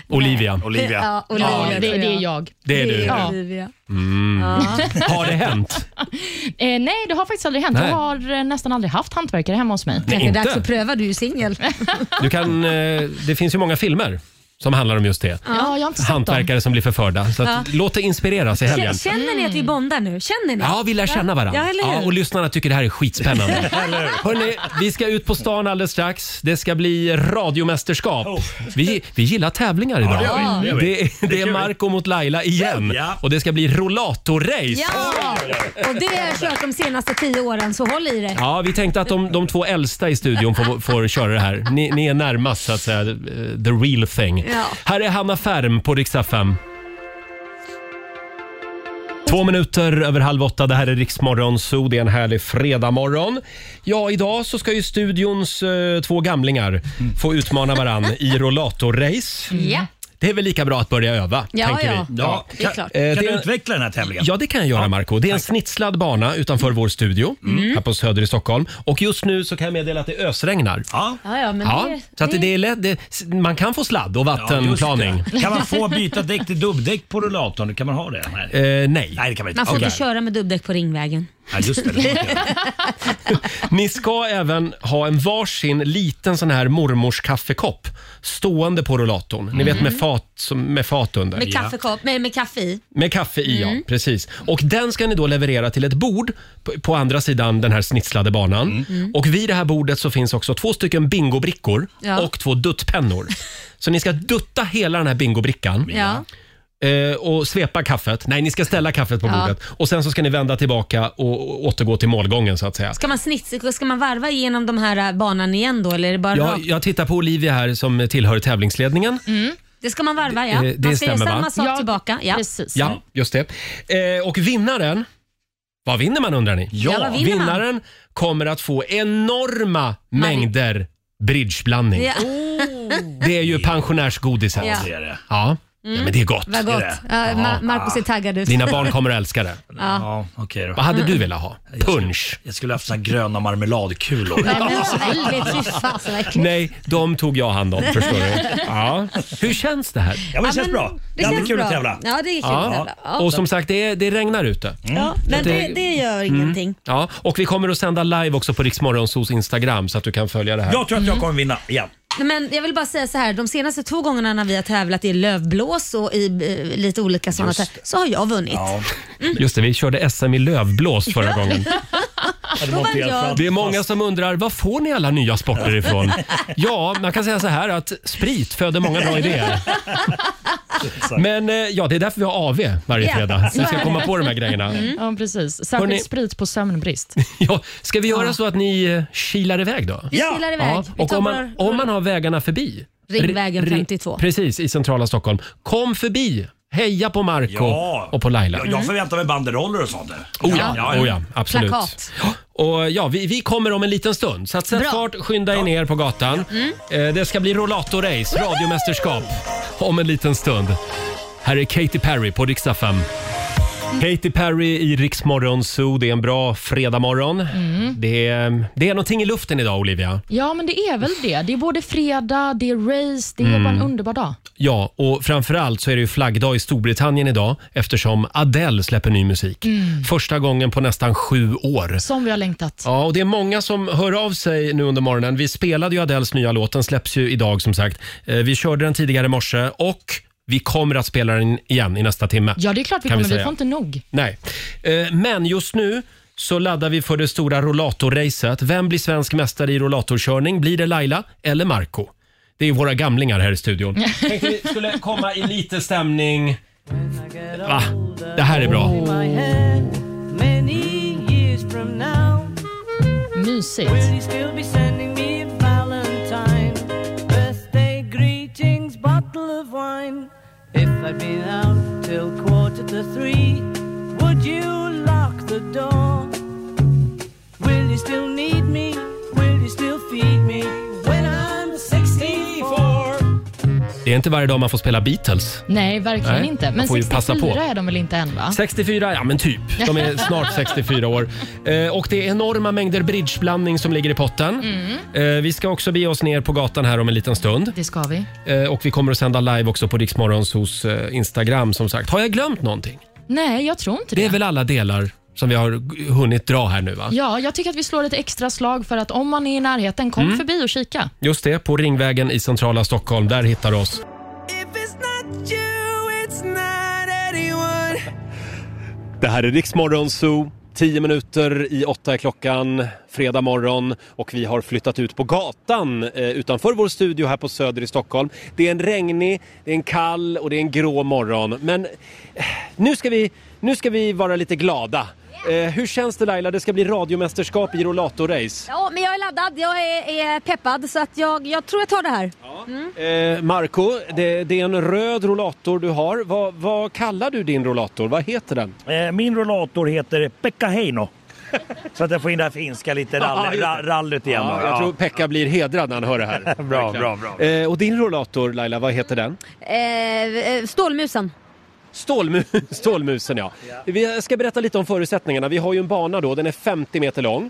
A: Olivia.
B: Ja, Olivia
C: Ja, det,
B: tror
C: det är jag.
A: Det är du.
C: Ja.
B: Olivia.
A: Mm.
C: Ja.
A: Har det hänt?
C: Eh, nej, det har faktiskt aldrig hänt.
A: Nej.
C: Jag har eh, nästan aldrig haft hantverkare hemma hos mig.
A: Nej, Kanske inte. dags att
B: pröva, du är ju singel.
A: Du kan, eh, det finns ju många filmer som handlar om just det.
B: Ja, jag har inte sett
A: Hantverkare som blir förförda. Så att,
B: Ja.
A: Låt dig inspireras i helgen.
B: K- Känner ni att vi bondar nu? Känner ni?
A: Ja, vi lär känna varandra.
B: Ja, eller hur?
A: Ja, och lyssnarna tycker det här är skitspännande.
B: Eller
A: Hörrni, vi ska ut på stan alldeles strax. Det ska bli radiomästerskap. Vi, vi gillar tävlingar idag.
D: Oh. Ja, det gör vi.
A: det, är- det är Marco mot Laila igen. Och det ska bli rollatorrace.
B: Ja, och det har jag kört de senaste tio åren, så håll i dig.
A: Ja, vi tänkte att de, de två äldsta i studion får, får köra det här. Ni, ni är närmast så att säga, eh, the real thing.
B: Ja.
A: Här är Hanna Färm på riksdag 5. Två minuter över halv åtta, det här är Riksmorgon Zoo. Det är en härlig fredagmorgon. Ja, idag så ska ju studions eh, två gamlingar få utmana varann i rollatorrace.
D: Ja.
A: Det är väl lika bra att börja öva,
D: Ja,
A: tänker
D: ja.
A: vi.
D: Ja, det är klart.
I: Kan
A: Eh, det
I: du
A: är-
I: utveckla den här tävlingen?
A: Ja, det kan jag göra, Marco. Det är en snitslad bana utanför vår studio här på Söder i Stockholm. Och just nu så kan jag meddela att det ösregnar. Ja.
B: Ja, ja, men
A: ja,
B: det,
A: så att det är lätt, det, man kan få sladd och vattenplaning.
I: just det. Kan man få byta däck till dubbdäck på rullatorn? Kan man ha det? Nej.
A: Eh, nej.
I: Nej, det kan man inte.
B: Man får
I: Okej.
B: inte köra med dubbdäck på Ringvägen.
I: Ja, just det. det måste jag.
A: Ni ska även ha en varsin liten sån här mormors kaffekopp stående på rullatorn. Ni vet
B: Mm.
A: med fat, som- med fat under.
B: Med kaffekopp, med, med kaffe i.
A: Med kaffe i, ja.
D: Mm.
A: Precis. Och den ska ni då leverera till ett bord på, på andra sidan den här snitslade banan.
D: Mm.
A: Och vid det här bordet så finns också två stycken bingobrickor
D: Ja.
A: och två duttpennor. Så ni ska dutta hela den här bingobrickan.
D: Ja.
A: eh, Och svepa kaffet. Nej, ni ska ställa kaffet på
B: Ja.
A: bordet. Och sen så ska ni vända tillbaka och och återgå till målgången så att säga.
B: Ska man, snitsa, ska man varva igenom de här äh, banan igen då eller är det bara
A: Jag,
B: rakt?
A: jag tittar på Olivia här som tillhör tävlingsledningen.
B: Det ska man varva ja.
A: Det- det
B: man
A: stämmer,
B: samma
A: va?
B: sak tillbaka. Ja. Precis.
A: Ja, just det. Eh, och vinnaren, vad vinner man undrar ni?
B: Ja, vad vinner man?
A: vinnaren kommer att få enorma mängder bridgeblandning.
B: Ja.
A: Det är ju pensionärsgodiset.
B: Ja, det är det.
A: Ja.
B: Mm.
A: Ja, men det är gott.
B: Vad gott.
A: Det är det.
B: Ja, Ma- Marcus är taggad ut.
A: Dina barn kommer att älska det.
B: Ja.
I: okej då.
A: Vad hade du velat ha? Punsch?
I: Jag skulle haft såna gröna marmeladkulor.
B: Nej, men väldigt, fy fasen vad äckligt.
A: Nej, de tog jag hand om förstår du. Ja. Hur känns det här?
I: Ja, men det känns bra. Det är alltid kul att tävla.
B: Ja, det är kul att tävla. Ja.
A: Och som sagt, det, är- det regnar ute.
B: Ja, men det, det gör ingenting.
A: Mm. Ja, och vi kommer att sända live också på Riksmorgonsos Instagram så att du kan följa det här.
I: Jag tror att jag kommer vinna igen.
B: Men jag vill bara säga så här, de senaste två gångerna när vi har tävlat i lövblås och i eh, lite olika sådana
A: Just
B: tä- så har jag vunnit.
A: Just det, vi körde SM i lövblås förra gången.
B: det var Då vann jag.
A: Det är många som undrar, var får ni alla nya sporter ifrån? Ja, man kan säga så här att sprit föder många bra idéer. Men eh, ja, det är därför vi har AV varje
C: Ja, Mm.
A: fredag.
C: så
A: Vi
C: är
A: ska
C: det.
A: komma på de här grejerna.
C: Ja, precis. Särskilt
A: Hörrni-
C: sprit på sömnbrist.
A: Ja, ska vi göra så att ni eh, kilar iväg då?
C: Vi kilar iväg. Vi
A: Och
C: tar
A: om
C: vår-
A: man, om man har vägarna förbi.
B: Ringvägen
A: Ri- ri-
B: 52.
A: Precis, i centrala Stockholm. Kom förbi! Heja på Marco
I: Ja.
A: och på Laila.
I: Jag, jag förväntar mig banderoller och sånt. där.
A: Oh ja, oh ja, absolut.
I: Plakat.
A: Och ja, vi, vi kommer om en liten stund. Så att sätt
I: Bra.
A: fart, skynda er ner på gatan. Eh, Det ska bli rollator-race, radiomästerskap, om en liten stund. Här är Katy Perry på riksdag 5. Katy Perry i Riksmorgon Zoo. Det är en bra fredagmorgon. Det, är, det är någonting i luften idag, Olivia.
C: Ja, men det är väl det. Det är både fredag, det är race, det är
A: Mm.
C: bara en underbar dag.
A: Ja, och framförallt så är det ju flaggdag i Storbritannien idag eftersom Adele släpper ny musik.
C: Mm.
A: Första gången på nästan sju år.
C: Som vi har längtat.
A: Ja, och det är många som hör av sig nu under morgonen. Vi spelade ju Adeles nya låt, den släpps ju idag som sagt. Eh, Vi körde den tidigare i morse och vi kommer att spela den igen i nästa timme.
C: Ja, det är klart vi
A: kan
C: kommer. Vi,
A: säga.
C: får inte nog.
A: Nej. Eh, Men just nu så laddar vi för det stora rollatorracet. Vem blir svensk mästare i rollatorkörning? Blir det Laila eller Marco? Det är ju våra gamlingar här i studion. Tänkte vi skulle komma i lite stämning. Va? Det här är bra.
C: Mysigt.
M: If I'd been out till quarter to three, would you lock the door? Will you still need me? Will you still feed me when I'm 64?
A: Det är inte varje dag man får spela Beatles.
C: Nej, verkligen
A: Nej,
C: inte.
A: man
C: Men
A: får ju passa
C: 64
A: på.
C: är de väl inte än, va?
A: 64, ja men typ. De är snart 64 år. Eh, och det är enorma mängder bridgeblandning som ligger i potten. Eh, vi ska också bege oss ner på gatan här om en liten stund.
C: Det ska vi.
A: Eh, och vi kommer att sända live också på Riksmorgons hos eh, Instagram som sagt. Har jag glömt någonting?
C: Nej, jag tror inte det.
A: Det är väl alla delar som vi har g- hunnit dra här nu va?
C: Ja, jag tycker att vi slår ett extra slag för att om man är i närheten, kom
A: Mm.
C: förbi och kika.
A: Just det, på Ringvägen i centrala Stockholm. Där hittar du oss. Det här är Riksmorgon Zoo. 10 minuter i åtta är klockan, fredag morgon och vi har flyttat ut på gatan eh, utanför vår studio här på Söder i Stockholm. Det är en regnig, det är en kall och det är en grå morgon. Men eh, nu ska vi, nu ska vi vara lite glada. Eh, hur känns det Laila? Det ska bli radiomästerskap i rollatorrace.
B: Ja, men jag är laddad, jag är, är peppad så att jag, jag tror jag tar det här. Mm.
A: Eh, Marco, det, det är en röd rollator du har. Vad, vad kallar du din rollator? Vad heter den?
I: Eh, Min rollator heter Pekka Heino. Så att jag får in det här finska lite
A: Ja,
I: rally,
A: just det.
I: ra- rallyt igen.
A: Ja,
I: då.
A: jag
I: Ja.
A: tror Pekka blir hedrad när han hör det här.
I: Bra,
A: Verkligen.
I: bra,
A: Eh, och din rollator Laila, vad heter den?
B: Eh, eh, stålmusen.
A: Stålmu Stålmusen ja. Vi ska berätta lite om förutsättningarna. Vi har ju en bana då, den är 50 meter lång.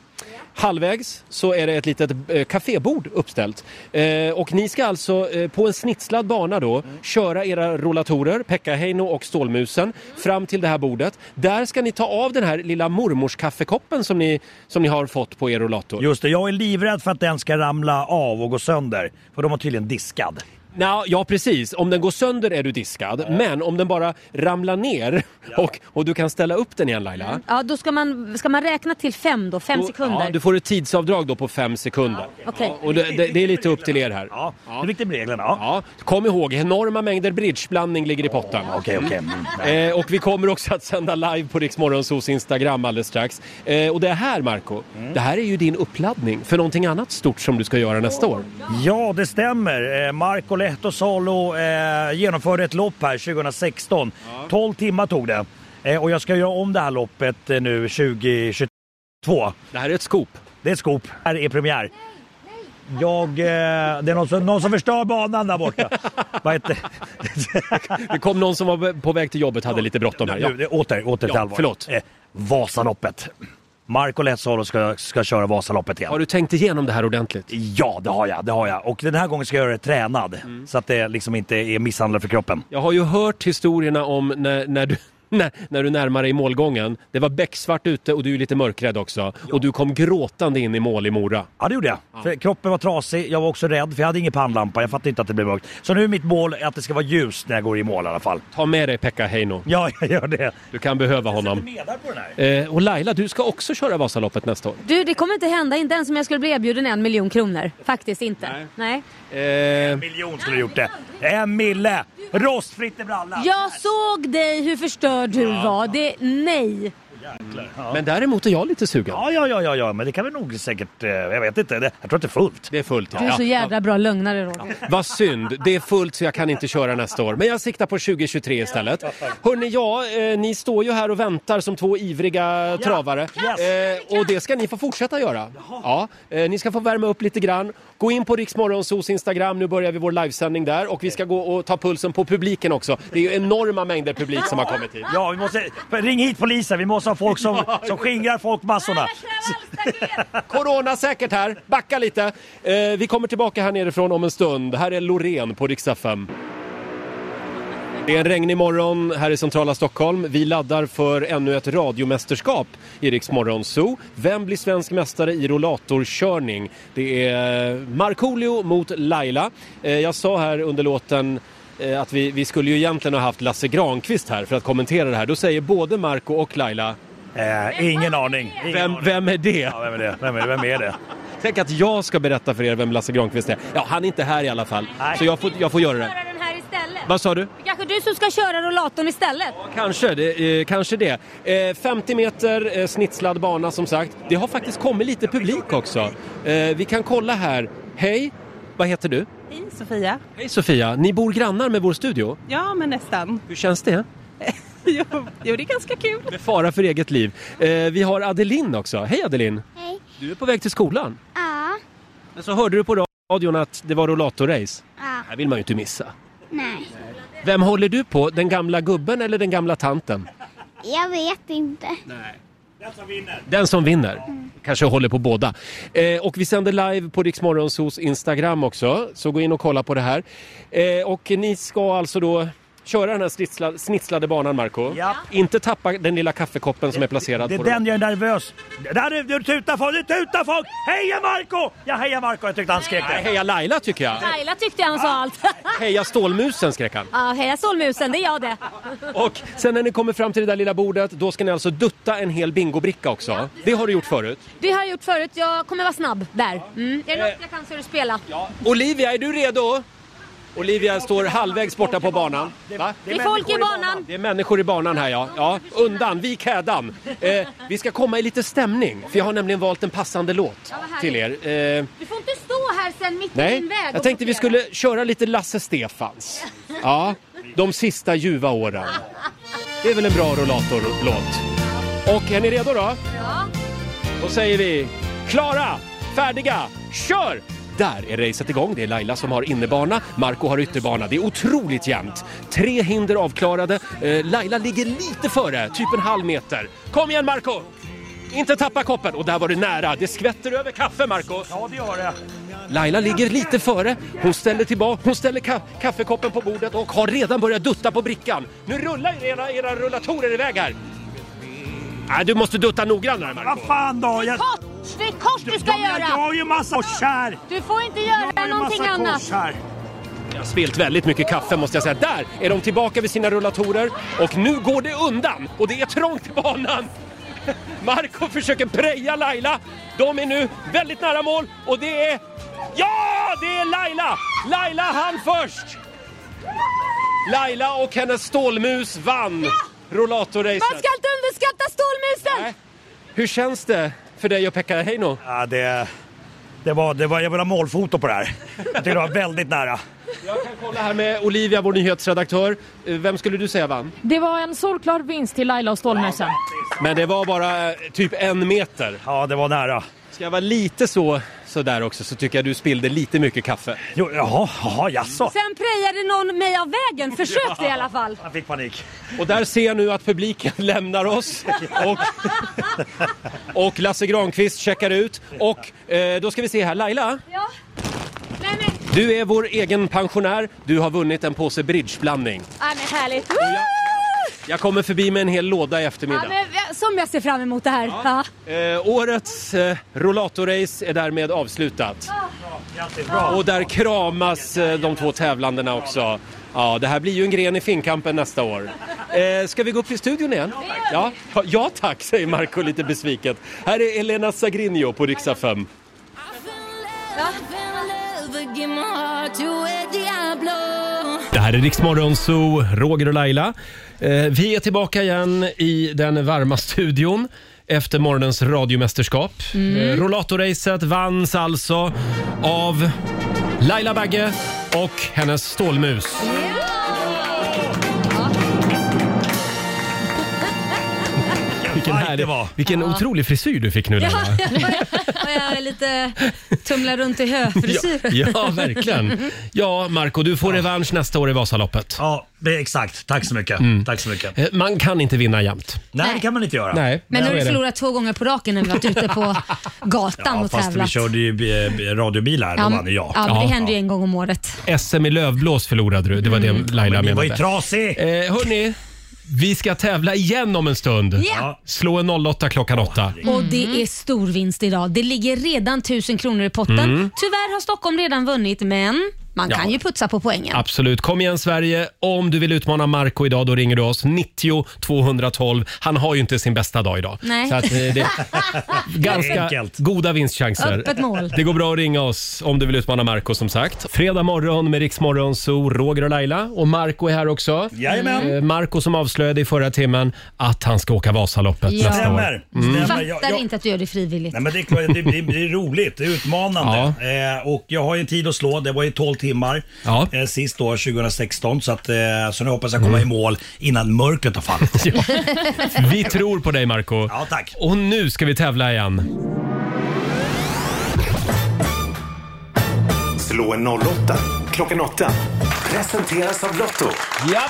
A: Halvvägs så är det ett litet eh, kafébord uppställt. Eh, och ni ska alltså eh, på en snitslad bana då köra era rollatorer, Pekkaheino och Stålmusen, fram till det här bordet. Där ska ni ta av den här lilla mormors kaffekoppen som ni, som ni har fått på er rollator.
I: Just det, jag är livrädd för att den ska ramla av och gå sönder. För de har tydligen diskad.
A: Nå, ja, precis. Om den går sönder är du diskad. Men om den bara ramlar ner och, och du kan ställa upp den igen Laila.
B: Ja, då ska man, ska man räkna till fem då, fem
A: Då-
B: sekunder.
A: Ja, du får ett tidsavdrag då på fem sekunder.
B: okej.
A: Ja, och det, det, det är lite upp till er här. Ja,
I: det är viktigt med reglerna. Ja.
A: Kom ihåg, enorma mängder bridgeblandning ligger i potten.
I: Okej, okej.
A: Eh, och vi kommer också att sända live på Riksmorgonsos Instagram alldeles strax. Eh, och det här, Marco, det här är ju din uppladdning för någonting annat stort som du ska göra nästa år.
I: Ja, det stämmer. Eh, Marco Lehto Salo eh, genomförde ett lopp här 2016. 12 timmar tog det. Eh, och jag ska göra om det här loppet eh, nu 2022.
A: Det här är ett skop.
I: Det är ett skop. Det här är premiär. Jag, eh, det är någon som, någon som förstör banan där borta. Vad heter
A: Det kom någon som var på väg till jobbet hade lite bråttom här. Ja.
I: Nu, åter, åter till
A: Ja,
I: allvar.
A: förlåt.
I: Eh, Vasaloppet. Marco Letzolo ska, ska köra Vasaloppet igen.
A: Har du tänkt igenom det här ordentligt?
I: Ja, det har jag. Det har jag. Och den här gången ska jag göra det tränad.
A: Mm.
I: Så att det liksom inte är misshandel för kroppen.
A: Jag har ju hört historierna om när, när du när, när du närmar dig målgången. Det var becksvart ute och du är lite mörkrädd också. Och du kom gråtande in i mål i Mora.
I: Ja, det gjorde jag. För kroppen var trasig, jag var också rädd för jag hade ingen pannlampa. Jag fattade inte att det blev mörkt. Så nu är mitt mål är att det ska vara ljust när jag går i mål i alla fall.
A: Ta med dig Pekka Heino.
I: Ja, jag gör det.
A: Du kan behöva honom. Eh, och Laila, du ska också köra Vasaloppet nästa år.
N: Du, det kommer inte hända. Inte ens om jag skulle bli erbjuden en miljon kronor. Faktiskt inte. Nej.
A: Eh,
I: En miljon skulle du gjort det. En mille! Rostfritt i brallan.
N: Jag såg dig hur förstörd du var. Det, nej.
A: Men däremot är jag lite sugen.
I: Ja, ja, ja, ja, ja. men det kan vi nog säkert... eh, Jag vet inte. Det- Jag tror att det är fullt.
A: Det är fullt,
N: Du är så jädra bra lögnare Roger.
A: Vad synd, det är fullt så jag kan inte köra nästa år. Men jag siktar på 2023 istället. Hörni, ja, eh, ni står ju här och väntar som två ivriga travare. Eh, och det ska ni få fortsätta göra. Ja, eh, ni ska få värma upp lite grann. Gå in på Riksmorgonsos Instagram, nu börjar vi vår livesändning där. Och vi ska gå och ta pulsen på publiken också. Det är ju enorma mängder publik som har kommit hit.
I: Ja, vi måste... Ring hit polisen. Vi måste ha folk som, som skingrar folkmassorna.
A: Corona säkert här, backa lite. Eh, vi kommer tillbaka här nerifrån om en stund. Här är Loreen på riksdag 5. Det är en regnig morgon här i centrala Stockholm. Vi laddar för ännu ett radiomästerskap i Rix Morgon Zoo. Vem blir svensk mästare i rollatorkörning? Det är Markoolio mot Laila. Eh, Jag sa här under låten eh, att vi, vi skulle ju egentligen ha haft Lasse Granqvist här för att kommentera det här. Då säger både Marco och Laila...
I: Eh, ingen aning.
A: Vem, vem är det?
I: Ja, vem är det? Vem är, vem är det?
A: Tänk att jag ska berätta för er vem Lasse Granqvist är. Ja, han är inte här i alla fall. Så jag får, jag får göra det.
N: Köra den här istället.
A: Vad sa du?
N: Kanske du som ska köra rollatorn istället.
A: Kanske det. Eh, kanske det. Eh, 50 meter eh, snitslad bana som sagt. Det har faktiskt kommit lite publik också. Eh, vi kan kolla här. Hej, vad heter du?
O: Hej Sofia.
A: Hej Sofia, ni bor grannar med vår studio.
O: Ja, men nästan.
A: Hur känns det?
O: jo, jo, det är ganska kul.
A: Med fara för eget liv. Eh, vi har Adeline också. Hej Adeline! Hej! Du är på väg till skolan.
P: Ja.
A: Men så hörde du på radion att det var rollatorrace.
P: Ja.
A: Det här vill man ju inte missa.
P: Nej.
A: Vem håller du på? Den gamla gubben eller den gamla tanten?
P: Jag vet inte.
A: Nej. Den som vinner.
P: Mm.
A: Kanske håller på båda. Eh, och vi sänder live på Rix Morgonzos Instagram också, så gå in och kolla på det här. Eh, och ni ska alltså då köra den här snitsla, snitslade banan, Marco.
I: Ja.
A: Inte tappa den lilla kaffekoppen som är placerad
I: Det är
A: på
I: den jag är nervös. Där nu, nu tutar folk, nu tutar folk! Heja Marco! Ja, heja Marco. Jag tyckte han skrek
A: Nej, heja Laila tycker jag.
N: Laila tyckte jag han sa allt.
A: Heja Stålmusen skrek han.
N: Ja, heja Solmusen, det är jag det.
A: Och sen när ni kommer fram till det där lilla bordet, då ska ni alltså dutta en hel bingobricka också. Det har du gjort förut.
N: Det har jag gjort förut. Jag kommer vara snabb där. Mm. Är det något jag kan så är det spela.
A: Olivia, är du redo? Olivia står halvvägs borta på banan. Va?
N: Det är folk i banan.
A: Det är människor i banan här ja. ja. Undan, vik hädan. Eh, vi ska komma i lite stämning, för jag har nämligen valt en passande låt
N: Ja, vad
A: till
N: härligt.
A: er. Eh,
N: Du får inte stå här sen mitt i
A: nej,
N: din väg. och
A: jag tänkte vi
N: blockera.
A: skulle köra lite Lasse Stefans. Ja, de sista ljuva åren. Det är väl en bra rollatorlåt. Och är ni redo då?
N: Ja.
A: Då säger vi klara, färdiga, kör! Där är racet igång. Det är Laila som har innerbana, Marco har ytterbana. Det är otroligt jämnt. Tre hinder avklarade. Eh, Laila ligger lite före, typ en halv meter. Kom igen Marco! Inte tappa koppen! Och där var du nära. Det skvätter över kaffe, Marco.
I: Ja, det gör det.
A: Laila ligger lite före. Hon ställer tillbaka, hon ställer ka- kaffekoppen på bordet och har redan börjat dutta på brickan. Nu rullar era, era rullatorer iväg här. Nej, du måste dutta noggrannare, Marco.
I: Vad fan då? Jag...
N: Kors! Det är kors du ska
I: Ja, men Jag har
N: göra!
I: ju massa kors
N: Du får inte göra någonting annat.
I: här.
A: Jag har spilt väldigt mycket kaffe måste jag säga. Där är de tillbaka vid sina rullatorer och nu går det undan och det är trångt i banan. Marco försöker preja Laila. De är nu väldigt nära mål och det är... Ja, det är Laila! Laila hann först! Laila och hennes stålmus vann
N: Man
A: rollatorracet.
N: ska inte underskatta Stålmusen!
A: Hur känns det för dig och Pekka Heino?
I: Ja, det... Det var, det var, jag vill ha målfoto på det här. Jag tyckte det var väldigt nära.
A: Jag kan kolla här med Olivia, vår nyhetsredaktör. Eh, Vem skulle du säga vann?
C: Det var en solklar vinst till Laila och Stålmusen.
A: Men det var bara eh, typ en meter.
I: Ja, det var nära.
A: Ska jag vara lite så sådär också så tycker jag du spillde lite mycket kaffe.
I: Jo, jaha, jaha, jaså.
N: Sen prejade någon mig av vägen, försökte i alla fall.
I: Jag fick panik.
A: Och där ser jag nu att publiken lämnar oss och, och Lasse Granqvist checkar ut. Och eh, då ska vi se här, Laila,
N: Ja. Nej men,
A: du är vår egen pensionär. Du har vunnit en påse bridgeblandning.
N: ja, men härligt.
A: Jag kommer förbi med en hel låda i
N: Ja,
A: eftermiddag.
N: men, ja, som jag ser fram emot det här. Ja.
A: Eh, årets eh, rollatorrace är därmed avslutat. Och där kramas eh, de två tävlandena också. Ja, det här blir ju en gren i finkampen nästa år. Eh, ska vi gå upp i studion igen? Ja, ja, ja tack, säger Marco lite besviket. Här är Elena Sagrinho på riksdag 5. Det här är Riksmorgon Zoo, Roger och Laila. Eh, vi är tillbaka igen i den varma studion efter morgonens radiomästerskap.
D: Mm.
A: Eh, Rollatorracet vanns alltså av Laila Bagge och hennes stålmus. Vilken, härlig, vilken otrolig frisyr du fick nu
B: Ja,
A: Laila.
B: och jag är lite tumlar runt i höfrisyr.
A: Ja, ja, verkligen. Ja, Marco, du får revansch nästa år i Vasaloppet.
I: Ja, det är exakt. Tack så mycket. Tack så mycket.
A: Eh, Man kan inte vinna jämt.
I: Nej, det kan man inte göra.
A: Nej.
B: Men nu har
A: så är
B: du
A: det.
B: förlorat två gånger på raken när vi varit ute på gatan
I: Ja,
B: och
I: fast vi
B: tävlat.
I: körde ju eh, radiobilar, då vann ju jag.
B: ja, men det händer ju en gång om året.
A: SM i lövblås förlorade du. Det var
B: Mm.
A: det Laila
I: Men det var
A: menade.
I: ju trasig.
A: Eh, hörni, vi ska tävla igen om en stund.
B: Ja.
A: Slå en 08 klockan 8.
B: Och det är stor vinst idag. Det ligger redan 1000 kronor i potten.
A: Mm.
B: Tyvärr har Stockholm redan vunnit, men man
A: Ja.
B: kan ju putsa på poängen.
A: Absolut. Kom igen Sverige. Om du vill utmana Marco idag då ringer du oss 90 212. Han har ju inte sin bästa dag idag.
B: Nej.
A: Så att, eh, det är ganska
I: Enkelt.
A: goda vinstchanser.
B: Öppet mål.
A: Det går bra att ringa oss om du vill utmana Marco som sagt. Fredag morgon med Riksmorgon så Roger och Laila och Marco är här också.
I: Jajamän.
A: Eh, Marco som avslöjade i förra timmen att han ska åka Vasaloppet
B: Ja.
A: nästa år.
I: Stämmer. Stämmer.
B: Fattar
I: Jag- jag-
B: inte att du gör det frivilligt.
I: Nej, men det, är klart, det, det, det är roligt, det är utmanande. Eh, och jag har ju en tid att slå, det var ju 12 timmar eh, sist då 2016. Så, att, eh, så nu hoppas jag komma
A: Mm.
I: i mål innan mörkret tar fallit.
A: Vi tror på dig Marco. Ja,
I: tack.
A: Och nu ska vi tävla igen.
J: Slå en 08 klockan 8. Presenteras av Lotto.
A: Ja.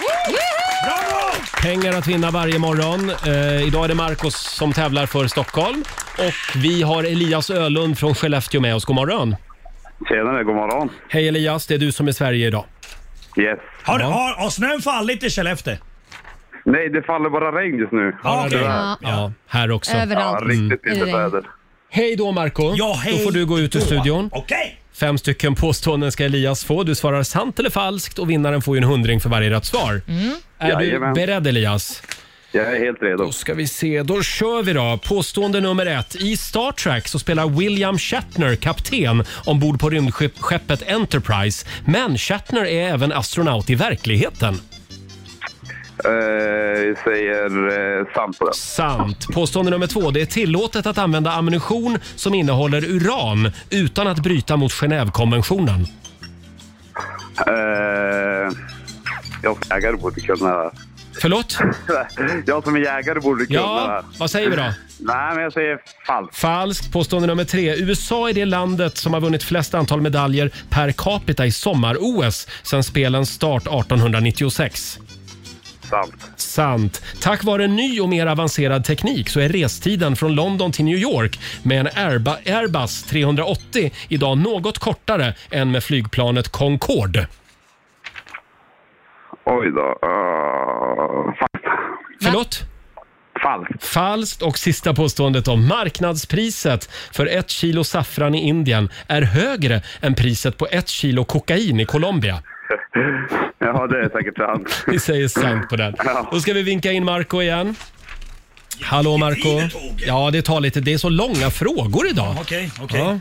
A: Pengar att vinna varje morgon. Eh, idag är det Marcos som tävlar för Stockholm. Och vi har Elias Ölund från Skellefteå med oss. God morgon.
L: Tjenare, god morgon.
A: Hej Elias, det är du som är Sverige idag.
L: Yes.
I: Har, har, har snön fallit i Skellefteå?
L: Nej, det faller bara regn just nu.
I: Ja, okej.
L: Tyvärr.
A: Ja, här också.
L: Ja, riktigt
A: Mm.
L: illa väder.
A: Hej då Marco.
I: Ja, hej
A: Då får du gå ut ur
I: då.
A: studion.
I: Okej.
A: Fem stycken påståenden ska Elias få. Du svarar sant eller falskt och vinnaren får ju en hundring för varje rätt svar. Är
L: Jajamän.
A: du beredd Elias?
L: Jag är helt redo.
A: Då ska vi se. Då kör vi då. Påstående nummer ett. I Star Trek så spelar William Shatner kapten ombord på rymdskeppet Enterprise. Men Shatner är även astronaut i verkligheten.
L: Eh, säger eh, sant på den.
A: Sant. Påstående nummer två. Det är tillåtet att använda ammunition som innehåller uran utan att bryta mot Genèvekonventionen.
L: Eh, jag som jägare borde kunna det här.
A: Förlåt?
L: Jag som är jägare borde kunna
A: Ja,
L: det här.
A: vad säger vi då?
L: Nej, men jag säger falskt.
A: Falskt. Påstående nummer tre. USA är det landet som har vunnit flest antal medaljer per capita i sommar-OS sedan spelens start 1896.
L: Sant.
A: Sant. Tack vare ny och mer avancerad teknik så är restiden från London till New York med en Airba- Airbus 380 idag något kortare än med flygplanet Concorde.
L: Oj då. Eh, falskt.
A: Förlåt?
L: Falskt.
A: Falskt. Och sista påståendet om marknadspriset för ett kilo saffran i Indien är högre än priset på ett kilo kokain i Colombia.
L: Ja, det är säkert sant.
A: Vi säger sant på den. Då ska vi vinka in Marco igen. Hallå Marco. Ja, det tar lite. Det är så långa frågor idag.
I: Okej, okej.
A: Ja.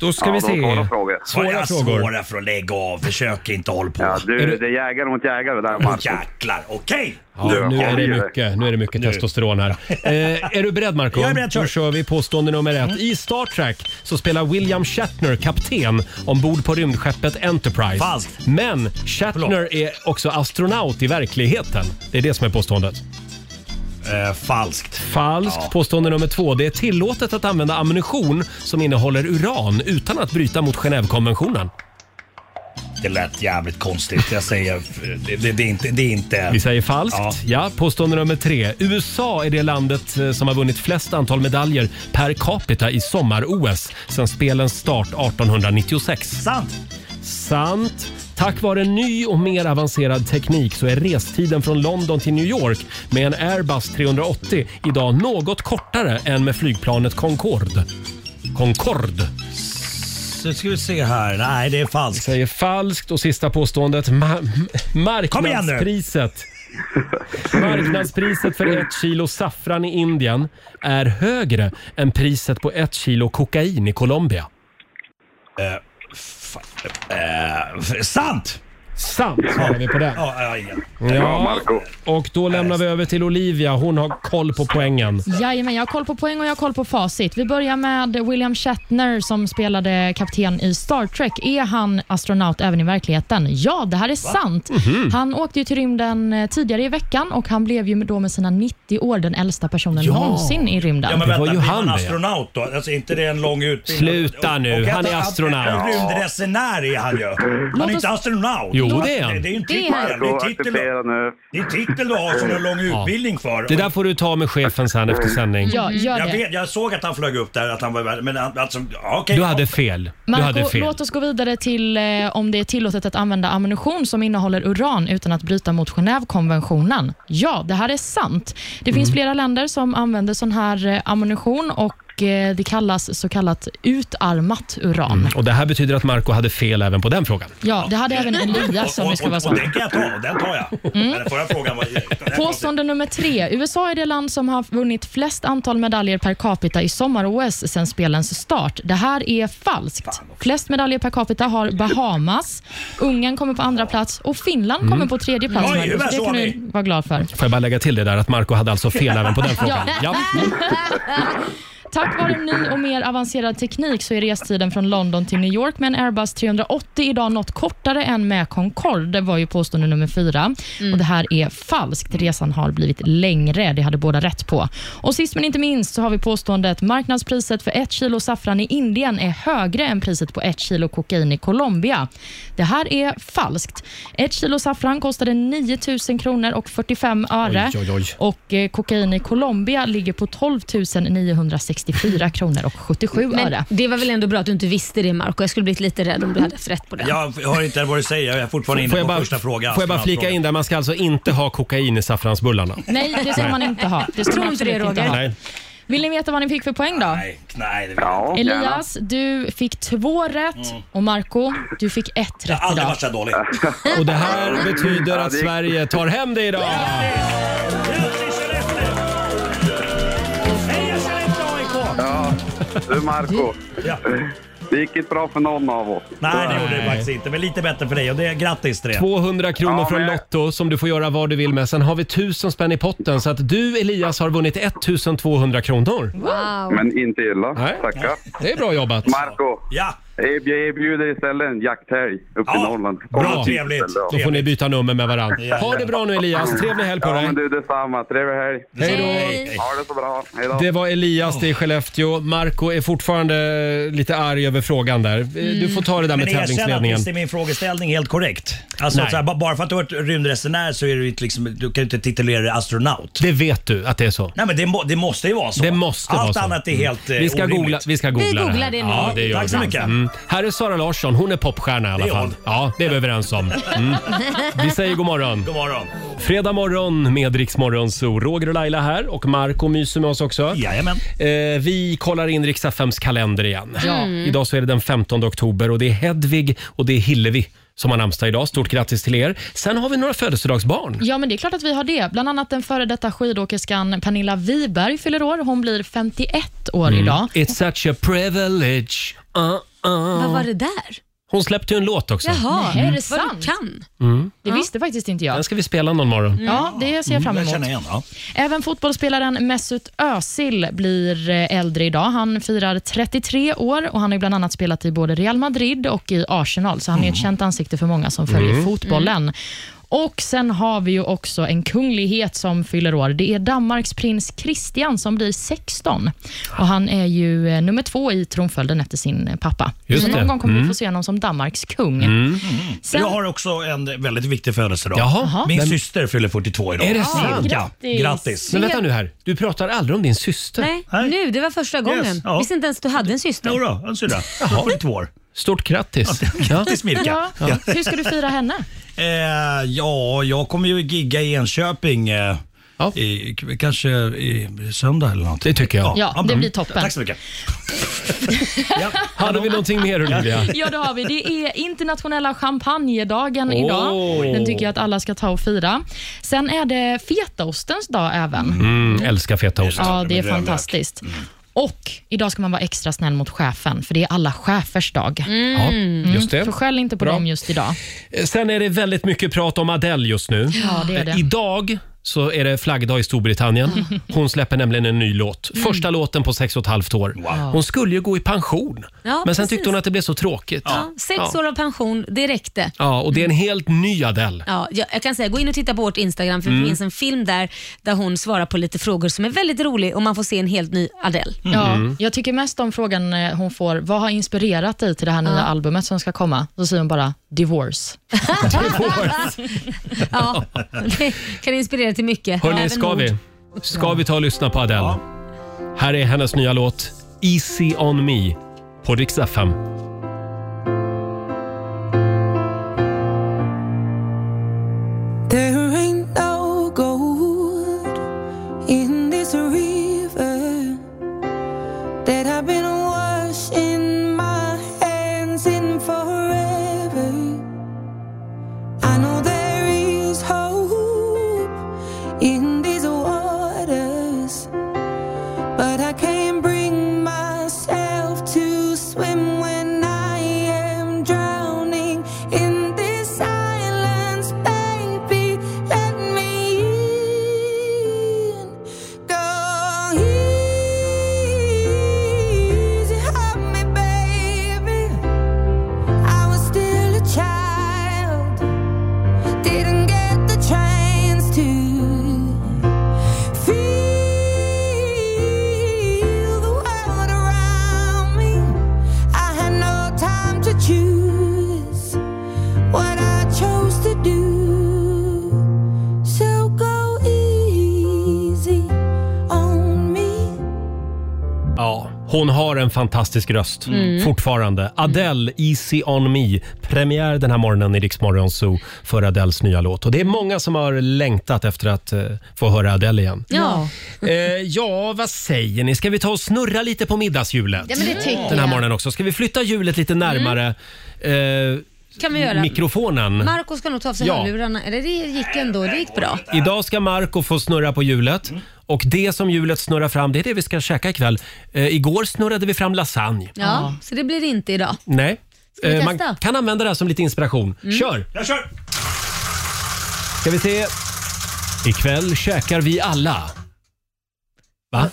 A: Då ska vi se. Svåra
I: Svåra
A: frågor.
I: Svåra frågor. Lägg av, försök inte håll på.
L: Ja, du, det är jägare mot jägare där, Marcus.
I: Jäklar, okej!
A: Ja, nu, är det mycket, nu är det mycket testosteron här. Eh, är du beredd Marco?
I: Jag är beredd, kör. Mm.
A: Då kör vi påstående nummer ett. I Star Trek så spelar William Shatner kapten ombord på rymdskeppet Enterprise.
I: Falskt.
A: Men Shatner är också astronaut i verkligheten. Det är det som är påståendet. Eh, falskt. Falskt. Påstående nummer två. Det är tillåtet att använda ammunition som innehåller uran utan att bryta mot Genèvekonventionen.
I: Det lät jävligt konstigt. Jag säger, det, det, det, är inte, det är inte...
A: Vi säger falskt. Ja.
I: Ja.
A: påstående nummer tre. USA är det landet eh, som har vunnit flest antal medaljer per capita i sommar-OS sedan spelens start 1896. Sant! Sant. Tack vare en ny och mer avancerad teknik så är restiden från London till New York med en Airbus 380 idag något kortare än med flygplanet Concorde. Concorde.
I: Så ska vi se här. Nej, det är falskt.
A: säger falskt och sista påståendet. Ma- m-
I: Kom igen nu!
A: marknadspriset. Marknadspriset för ett kilo saffran i Indien är högre än priset på ett kilo kokain i Colombia.
I: Eh, fa- eh, f- sant!
A: Sant svarar vi på den.
I: Ja, ja, ja.
A: Ja, och då lämnar vi över till Olivia. Hon har koll på poängen.
C: Jajamän, jag har koll på poäng och jag har koll på facit. Vi börjar med William Shatner som spelade kapten i Star Trek. Är han astronaut även i verkligheten? Ja, det här är sant.
D: Mhm.
C: Han åkte ju till rymden eh, tidigare i veckan och han blev ju då med sina 90 år den äldsta personen någonsin i rymden.
I: Ja, men vänta, blir man
A: det, ja.
I: astronaut då? Alltså inte det är en lång utbildning?
A: Sluta nu,
I: Och- och
A: han är
I: att- att-
A: astronaut.
I: en Rymdresenär är han ju. Han
A: Låt
I: är
A: oss-
I: inte astronaut.
A: Jo, det är han.
I: Det är ju en
C: Det
I: titel.
C: är han.
I: Det är titel, det är titel du har som du har lång
A: Ja.
I: utbildning för.
A: Det där får du ta med chefen sen efter sändning.
I: jag, vet, jag såg att han flög upp där, att han var men han- alltså, ja, okej.
A: Du hade fel. Du hade
C: Marco,
A: fel.
C: låt oss gå vidare till eh, om det är tillåtet att använda ammunition som innehåller uran utan att bryta mot Genèvekonventionen. Ja, det här är sant. Det finns
A: Mm.
C: flera länder som använder sån här eh, ammunition och eh, det kallas så kallat utarmat uran.
A: Mm. Och det här betyder att Marco hade fel även på den frågan.
C: Ja, det hade även Elias om vi ska vara såna.
I: Den kan jag ta, den tar jag.
C: Mm.
I: Men den förra frågan var...
C: Påstående nummer tre. USA är det land som har vunnit flest antal medaljer per capita i sommar-OS sedan spelens start. Det här är falskt. Flest medaljer per capita har Bahamas, Ungern kommer på andra plats och Finland
A: Mm.
C: kommer på tredje plats.
A: Oj,
C: Marcus.
A: hur väl
C: det
A: så
C: kan
A: har
C: du
A: vi?
C: vara glad för.
A: Får jag bara lägga till det där att Marco hade alltså fel även på den frågan?
C: Ja. Tack vare ny och mer avancerad teknik så är restiden från London till New York med en Airbus 380 idag något kortare än med Concorde. Det var ju påstående nummer fyra. Och Det här är falskt. Resan har blivit längre. Det hade båda rätt på. Och Sist men inte minst så har vi påståendet marknadspriset för ett kilo saffran i Indien är högre än priset på ett kilo kokain i Colombia. Det här är falskt. Ett kilo saffran kostade 9 000 kronor och 45 öre.
A: Oj, oj, oj.
C: Och eh, kokain i Colombia ligger på 12 964 kronor och 77
N: Men
C: öre.
N: det var väl ändå bra att du inte visste det Marco. Jag skulle blivit lite rädd om du hade haft rätt på det.
I: Jag hör inte vad du säger, jag är fortfarande inne
A: Får jag
I: på
A: bara-
I: första frågan.
A: Får jag bara flika in där, man ska alltså inte ha kokain i saffransbullarna.
C: Nej, det ska man inte ha. Det ska
N: Tror
C: man
N: inte det,
C: absolut inte
N: Roger.
C: ha.
A: Nej.
C: Vill ni veta vad ni fick för poäng då? Nej,
I: Nej, det vill jag inte.
C: Elias, du fick två rätt och Marco, du fick ett
I: Mm. Jag
C: rätt
I: har aldrig
C: idag.
I: varit så här dålig.
A: Och det här betyder att Sverige tar hem det idag.
I: Hej, jag kör inte AIK!
L: Ja, du Marco. Det gick inte bra för någon av oss.
I: Nej, det gjorde det faktiskt inte, men lite bättre för dig och det är grattis till det.
A: 200 kronor
I: Ja,
A: från
I: men-
A: Lotto som du får göra vad du vill med. Sen har vi 1000 spänn i potten så att du Elias har vunnit 1200 kronor.
N: Wow.
L: Men inte illa.
A: Nej.
L: Tackar.
A: Det är bra jobbat.
L: Marco.
I: Ja.
L: Jag erbjuder istället en jakthelg upp i Norrland.
A: Bra. Då får ni byta nummer med varandra. Ha det bra nu Elias. Trevlig helg på
L: ja,
A: dig.
L: men du detsamma. Trevlig helg.
A: Hej då. Hej.
L: Ha det så bra. Hej då.
A: Det var Elias det i Skellefteå. Marco är fortfarande lite arg över frågan där. Du får ta det där med
I: Men erkänn att
A: tävlingsledningen.
I: visst är min frågeställning helt korrekt. Alltså,
A: Nej.
I: så här, ba- bara för att du har varit rymdresenär så är du, inte liksom, du kan ju inte titulera dig astronaut.
A: Det vet du att det är så.
I: Nej men det, må, det måste ju vara så.
A: Det måste
I: Allt
A: vara så. Mm.
I: annat är helt eh,
A: vi ska
I: orimligt.
A: googla, Vi ska googla
I: Vi
A: här.
I: googlar det nu.
A: Ja, det gör
I: Tack så
A: vi.
I: mycket.
A: Här är Sara Larsson. Hon är popstjärna i alla
I: Det är
A: fall.
I: hon.
A: Ja, det är vi överens om. Mm. Vi säger god morgon.
I: God morgon.
A: Fredag morgon med Rix Morgon Zoo. Roger och Laila här och Marco myser med oss också.
I: Jajamän.
A: Eh, vi kollar in Rix FMs kalender igen.
D: Ja. Mm.
A: Idag så är det den 15 oktober och det är Hedvig och det är Hillevi som har namnsdag idag. Stort grattis till er. Sen har vi några födelsedagsbarn.
C: Ja, men det är klart att vi har det. Bland annat den före detta skidåkerskan Pernilla Wiberg fyller år. Hon blir 51 år
A: Mm.
C: idag.
A: It's such a privilege. Uh, uh.
N: Vad var det där?
A: Hon släppte ju en låt också.
N: Jaha,
C: Nej, är det
N: vad
C: sant?
N: du kan.
A: Mm.
C: Det visste faktiskt inte jag.
A: Den ska vi spela någon morgon.
C: Ja, det ser jag fram
I: Mm. Jag
C: emot.
I: känner igen, ja.
C: Även fotbollsspelaren Mesut Özil blir eh, äldre idag. Han firar 33 år och han har ju bland annat
I: Mm.
C: spelat i både Real Madrid och i Arsenal, så han är ett känt ansikte för många som följer
N: Mm.
C: fotbollen. Och sen har vi ju också en kunglighet som fyller år. Det är Danmarks prins Christian som blir 16. Och Han är ju eh, nummer två i tronföljden efter sin eh, pappa.
I: Just
C: så
I: det.
C: någon gång kommer vi
I: Mm.
C: få se honom som Danmarks kung. Sen-
I: Jag har också en väldigt viktig födelsedag.
A: Jaha.
I: Min
A: Vem-
I: syster fyller 42 idag.
A: Är det
I: Ja.
A: sant?
I: Ja. Grattis.
A: Men vänta nu här, du pratar aldrig om din syster.
B: Nej, nu. Det var första gången.
A: ja.
B: Visste inte ens du hade en syster.
I: Jodå, en syrra. Hon är 42 år.
A: Stort grattis.
I: Grattis Mirka.
C: Ja. Hur ska du fira henne?
I: Eh, ja, jag kommer ju gigga i Enköping. Eh, i, k- kanske i söndag eller något. Det
A: tycker jag.
C: Ja, det blir toppen.
I: Tack så mycket.
A: Hade vi någonting mer Olivia?
C: Ja, det har vi. Det är internationella champagnedagen
A: Åh.
C: idag. Den tycker jag att alla ska ta och fira. Sen är det fetaostens dag även.
A: Mm, älskar fetaost.
C: Ja, det är Mm. fantastiskt. Och idag ska man vara extra snäll mot chefen, för det är alla chefers dag.
A: Ja, just det.
C: Så skäll inte på
A: Mm. Bra.
C: dem just idag.
A: Eh, Sen är det väldigt mycket prat om Adele just nu.
C: Ja, det är det.
A: Eh, Idag så är det flaggdag i Storbritannien. Hon släpper nämligen en ny låt. Första låten på sex och ett halvt år. Hon skulle ju gå i pension,
B: Ja,
A: men sen
B: precis.
A: tyckte hon att det blev så tråkigt.
B: Ja, sex
A: Ja.
B: år av pension, det räckte.
A: Ja, och det är en helt ny Adele.
B: Ja, jag, jag kan säga, gå in och titta på vårt Instagram för
A: Mm.
B: det finns en film där, där hon svarar på lite frågor som är väldigt rolig och man får se en helt ny Adele.
A: Mm.
C: Ja, jag tycker mest om frågan eh, hon får, vad har inspirerat dig till det här nya albumet som ska komma? Då säger hon bara divorce.
B: ja, det kan inspirera till mycket.
A: Hörni,
B: Även
A: ska
B: mord.
A: vi? Ska vi ta och lyssna på Adele? Här är hennes nya låt Easy on me på Rix FM.
H: There ain't no gold in this river that I've been washing my hands in forever. I know there is hope in these waters, but I can't bring myself to swim when I am drowning in this silence, baby. Let me in. Go easy on me, baby. I was still a child, didn't get the chance to feel the world around me. I had no time to choose what I chose to do. So go easy on me.
A: Ja, hon har en fantastisk röst
H: Mm.
A: fortfarande. Adele, Easy on me. Premiär den här morgonen i Rix Morgon Zoo för Adeles nya låt. Och det är många som har längtat efter att eh, få höra Adele igen.
D: Ja.
A: Eh, ja, vad säger ni? Ska vi ta och snurra lite på middagshjulet?
D: Ja, men det
B: Mm.
D: tycker
A: Den här
D: jag.
A: morgonen också. Ska vi flytta hjulet lite närmare eh,
B: Kan vi göra.
A: mikrofonen?
B: Marco ska nog ta av sig
A: Ja.
B: hörlurarna. Eller det gick ändå, det gick bra.
A: Idag ska Marco få snurra på hjulet. Och det som hjulet snurrar fram, det är det vi ska käka ikväll. Eh, igår snurrade vi fram lasagne.
B: Ja, så det blir det inte idag.
A: Nej.
B: Ska vi
A: Eh, man
B: testa? Mm.
A: kan använda det här som lite inspiration. Kör!
I: Jag kör!
A: Ska vi se. Ikväll käkar vi alla. Va?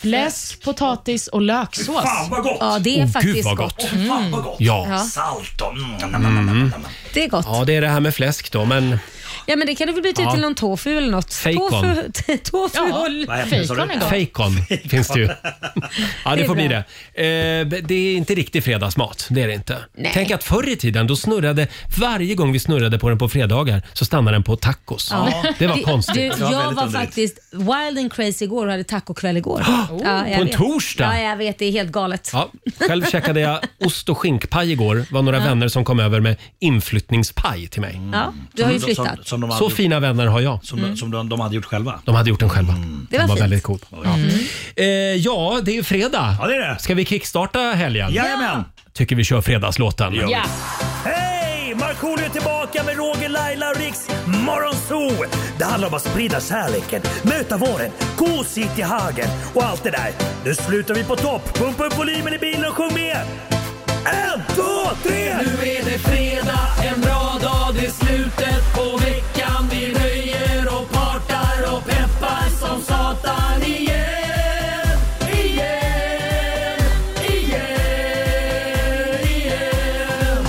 C: Fläsk, potatis och löksås.
I: Fan, vad gott!
B: Ja, det är
A: Åh, gud,
B: faktiskt
A: vad
B: gott.
A: gott.
I: Fan vad gott!
A: Ja. Ja.
I: Salt och... Mm.
A: Mm.
B: Det är gott.
A: Ja, det är det här med fläsk då, men...
B: Ja, men det kan du väl byta ut
A: Ja.
B: till någon tofu eller något.
A: Fejkon.
B: Tofu, tofu
A: Ja,
B: och
A: vad heter det, sa du? Fejkon finns det ju. Ja,
B: Det
A: det
B: är
A: får bli
B: bra.
A: det. Eh, det är inte riktig fredagsmat. Det är det inte.
B: Nej.
A: Tänk att förr i tiden, då snurrade, varje gång vi snurrade på den på fredagar så stannade den på tacos. Det var
B: Du-
A: konstigt.
B: Du, jag var faktiskt wild and crazy igår och hade tacokväll igår. jag
A: På en
B: vet.
A: torsdag?
B: Ja, jag vet. Det är helt galet.
A: Ja, själv käkade jag ost och skinkpaj igår. Det var några
B: Ja. Mm.
A: vänner som kom över med inflyttningspaj till mig.
B: Ja, du har ju
A: Som-
B: flyttat.
A: som de hade Så gjort- fina vänner har jag.
I: Som, de- som de, de hade gjort själva.
A: De hade gjort den själva.
I: Det
A: den
I: var
A: var
I: fint.
A: väldigt god. Mm. Ja. Eh, ja, det är ju fredag. Ja, det är det. Ska vi kickstarta helgen?
I: Jajamän.
A: Tycker vi kör fredagslåten.
I: Ja. Hej! Markoolio är tillbaka med Roger, Laila och Riks Morgonzoo! Det handlar om att sprida kärleken, möta våren, gosigt i hagen och allt det där. Nu slutar vi på topp! Pumpa upp volymen i bilen och sjung med! En, två, tre!
D: Nu är det fredag, en bra dag, det är slutet på veckan. Vi röjer och partar och peppar som satan igen. Igen, igen, igen.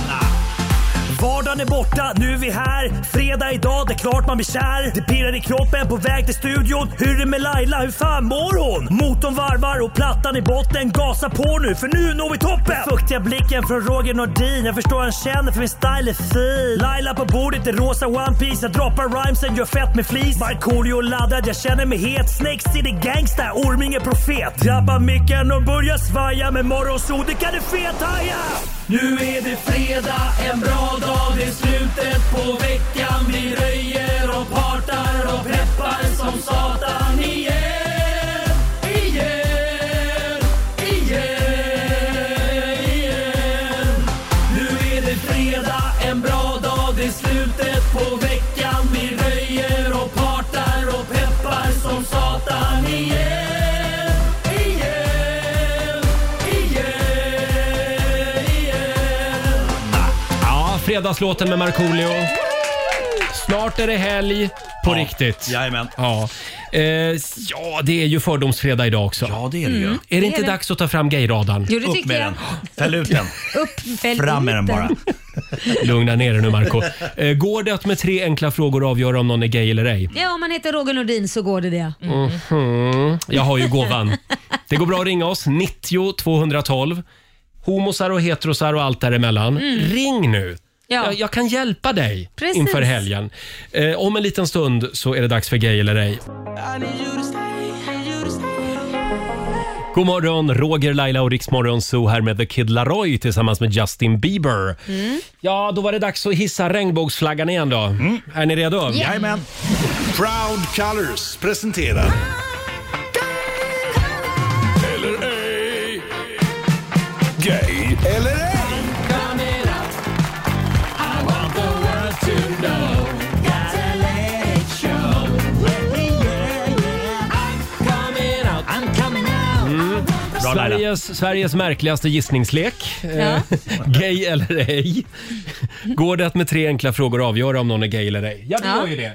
I: Vardagen är borta, nu
Q: nu är vi här. Fredag idag, det är klart man blir kär. Det pirrar i kroppen på väg till studion. Hur är det med Laila, hur fan mår hon? Motorn varvar och plattan i botten. Gasa på nu, för nu når vi toppen! Fuktiga blicken från Roger Nordin. Jag förstår han känner för min style är fin. Laila på bordet i rosa One Piece Jag droppar rhymesen, gör fett med flis. Markoolio laddad, jag känner mig het. Snakes city gangsta, Orminge profet. Drabbar micken och börjar svaja. Med morgonsol, det kan du fethaja!
D: Nu är det fredag, en bra dag, det är slutet på veckan Vi röjer och partar och peppar som satan igen Igen, igen, igen Nu är det fredag, en bra dag, det är slutet på veckan Vi röjer och partar och peppar som satan igen Igen, igen, igen
A: Ja, fredagslåten med Markoolio. Snart är det helg på riktigt. Jajamän. Ja. Eh, ja, det är ju fördomsfredag idag också. Ja,
B: det är det ju. Mm,
A: Är det
B: det
A: inte
B: är det.
A: dags att ta fram gayradarn?
B: Jo, det Upp tycker med jag. den. Fäll ut
A: den.
B: Upp, fäll
A: Fram
B: ut
A: med den bara. Lugna ner dig nu, Marco. Eh, går det att med tre enkla frågor avgöra om någon är gay eller ej?
B: Ja, om man heter Roger Nordin så går det det.
A: Mm. Mhm. Jag har ju gåvan. Det går bra att ringa oss, 90 212. Homosar och heterosar och allt däremellan.
B: Mm.
A: Ring nu!
B: Ja.
A: Jag, jag kan hjälpa dig
B: Precis.
A: inför helgen. Eh, om en liten stund så är det dags för Gay eller ej. God morgon, Roger, Laila och Riksmorgon Zoo här med The Kid Laroi tillsammans med Justin Bieber.
B: Mm.
A: Ja, då var det dags att hissa regnbågsflaggan igen då. Är ni redo?
D: Yeah. Jajamän.
A: Proud Colors presenterar...
D: eller ej? Gay eller ej?
A: Mm.
D: Bra, Laila.
A: Sveriges, Sveriges märkligaste gissningslek.
D: Ja.
A: Eh, gay eller ej? Går det att med tre enkla frågor avgöra om någon är gay eller ej? Ja, det
D: Ja.
A: går ju det.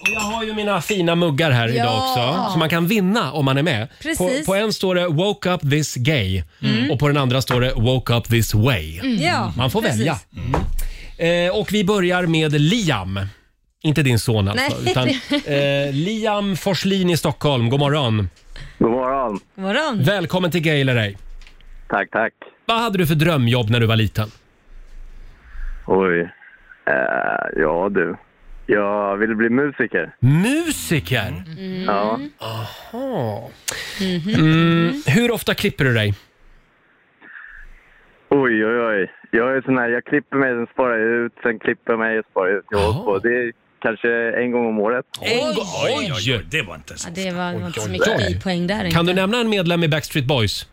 A: Och jag har ju mina fina muggar här
D: Ja.
A: idag också, så man kan vinna om man är med. På,
B: Precis.
A: på en står det “Woke up this gay” och på den andra står det “Woke up this way”.
B: Mm. Ja,
A: man får
B: precis.
A: välja. Eh, och vi börjar med Liam. Inte din son alltså,
B: Nej.
A: utan eh, Liam Forslin i Stockholm. God morgon.
R: God morgon.
B: God morgon.
A: Välkommen till Gay eller ej.
R: Tack, tack.
A: Vad hade du för drömjobb när du var liten?
R: Oj. Eh, ja, du. Jag ville bli musiker.
A: Musiker?
B: Mm.
L: Mm.
R: Ja.
A: Aha. Mm, hur ofta klipper du dig?
R: Oj, oj, oj. Jag är sån här, jag klipper mig, sen sparar jag ut, sen klipper jag mig och sparar ut. Jag har hållit på. Det är kanske en gång om året.
A: En gång?
B: Oj, oj,
A: det var inte
B: Ja, det var inte så
A: oj,
B: mycket
A: oj.
B: bipoäng där
A: Kan
B: inte.
A: du nämna en medlem i Backstreet Boys?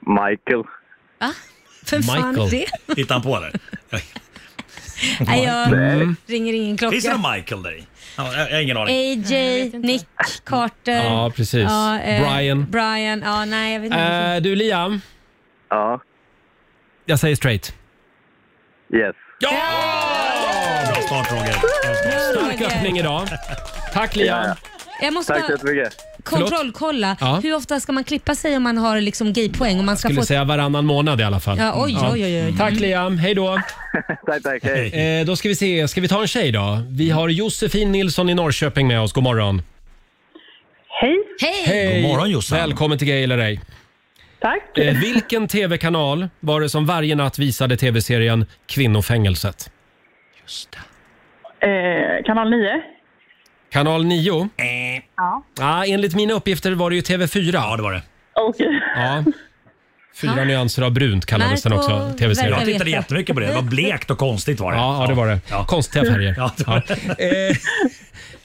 R: Michael.
B: För fan är det?
Q: Hittar han på det?
B: Nej, jag
Q: Nej.
B: ringer ingen klocka.
Q: Finns det någon Michael där i? Ja, Jag jag har ingen aning.
A: Eh.
B: AJ, Nick, Carter.
A: Ja, precis.
B: Ja, eh,
A: Brian.
B: Brian. Ja, nej, jag vet inte.
A: Eh, du Liam?
R: Ja.
A: Jag säger straight.
R: Yes.
A: Ja! Bra start Roger. Eh, Stark
B: Roger.
A: öppning idag. Tack Liam.
B: Jag måste
A: Tack
B: bara
A: så jättemycket.
B: kontrollkolla.
A: Ja.
B: Hur ofta ska man klippa sig om man har liksom gaypoäng? Om man ska
A: Skulle
B: få...
A: säga varannan månad i alla fall.
B: Ja, oj,
A: Ja.
B: oj, oj, oj.
A: Tack Liam, hej då.
R: tack, tack.
A: Eh, då ska vi se, ska vi ta en tjej då? Vi har Josefin Nilsson i Norrköping med oss, god morgon.
I: Hej.
A: Hej! Välkommen till Gay eller ej.
I: Tack.
A: Eh, vilken tv-kanal var det som varje natt visade tv-serien Kvinnofängelset?
I: Eh, kanal 9.
A: Kanal 9?
I: Ja.
A: Ja, enligt mina uppgifter var det ju TV4. Ja, det var det.
I: Okej.
A: Ja. Fyra nyanser av brunt kallades den
I: Marco
A: också, tv-serien.
I: verkar Jag tittade veta. jättemycket på det. Det var
Q: blekt och konstigt var det.
A: Ja, ja det var det. Konstiga färger.
Q: Ja, det var det.
A: Eh,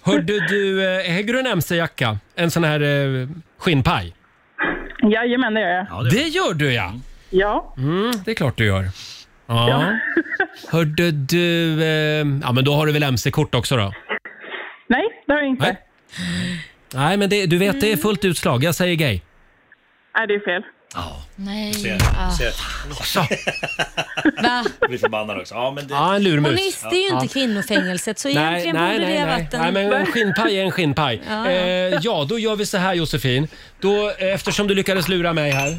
A: hörde du, eh, äger du en mc-jacka? En sån här eh, skinnpaj?
I: Jajamän, det gör jag.
A: det, gör du ja!
I: Ja.
A: Mm, det är klart du gör. Ja. Hörde du, eh, ja men då har du väl mc-kort också då?
I: Nej, det har jag inte. Nej,
A: Nej, men det, du vet, det är fullt utslag. Jag säger gay.
I: det är fel.
S: Nej.
I: Ah.
Q: Ser, ser.
A: Så.
B: Va?
Q: Blir förbannad också. Ja, men det...
A: Ja, en lurmus.
B: Hon visste ju inte
A: Ja.
B: kvinnofängelset så
A: Nej,
B: egentligen
A: nej,
B: borde
A: nej,
B: det ha
A: nej.
B: varit en...
A: nej, men en skinnpaj är en skinnpaj.
B: Ja.
A: Ja. Eh, ja, då gör vi så här Josefin. Då, eh, eftersom du lyckades lura mig här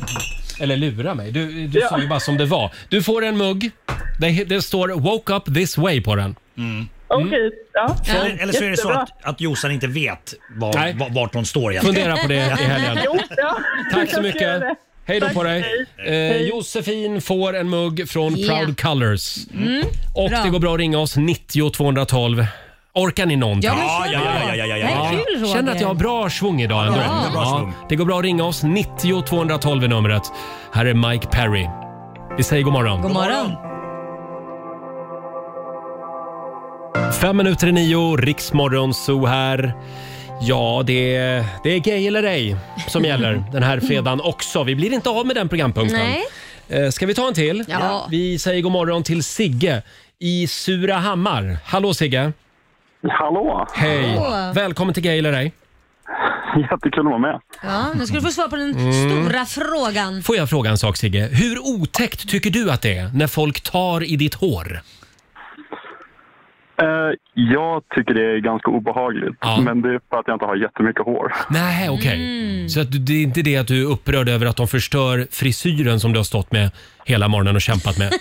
A: Eller lura mig. Du, du
D: Ja.
A: sa ju bara som det var. Du får en mugg. Det, det står “Woke up this way” på den.
K: Okej, ja.
I: Eller, eller så är det så
K: Jättebra.
I: att, att Jossan inte vet var,
A: Nej.
I: var, vart hon står egentligen.
A: Fundera på det i helgen.
K: Jo, ja.
A: Tack så
K: Jag ska göra
A: mycket.
K: det.
A: Hej då
K: Tack,
A: på dig.
K: hej.
A: Eh,
K: Hej.
A: Josefin får en mugg från
K: Ja.
A: Proud Colors.
K: Mm,
A: Och
K: bra.
A: det går bra att ringa oss 90 212. Orkar ni någonting?
D: Ja, men Ja, kör ja, ja, ja, ja, ja, ja. Det är kul, Roger.
A: Känner att jag har bra svung idag ändå.
D: Ja. Jättebra svung.
A: Det går bra att ringa oss. 90 212 är numret. Här är Mike Perry. Vi säger god morgon.
B: God morgon.
A: Fem minuter i nio, Riksmorgon Zoo här. Ja, det är, det är gay eller ej som gäller den här fredagen också. Vi blir inte av med den programpunkten.
D: Nej.
A: Eh, Ska vi ta en till?
D: Ja.
A: Vi säger god morgon till Sigge i Surahammar. Hallå Sigge!
T: Hallå!
A: Hej!
B: Hallå.
A: Välkommen till Gay eller ej.
T: Jättekul att vara med.
B: Ja, nu ska du få svar på den
A: Mm.
B: stora frågan.
A: Får jag fråga en sak Sigge? Hur otäckt tycker du att det är när folk tar i ditt hår?
T: Eh, jag tycker det är ganska obehagligt, men det är för att jag inte har jättemycket hår.
A: Nej, okej.
B: Mm.
A: Så att du, det är inte det att du är upprörd över att de förstör frisyren som du har stått med hela morgonen och kämpat med?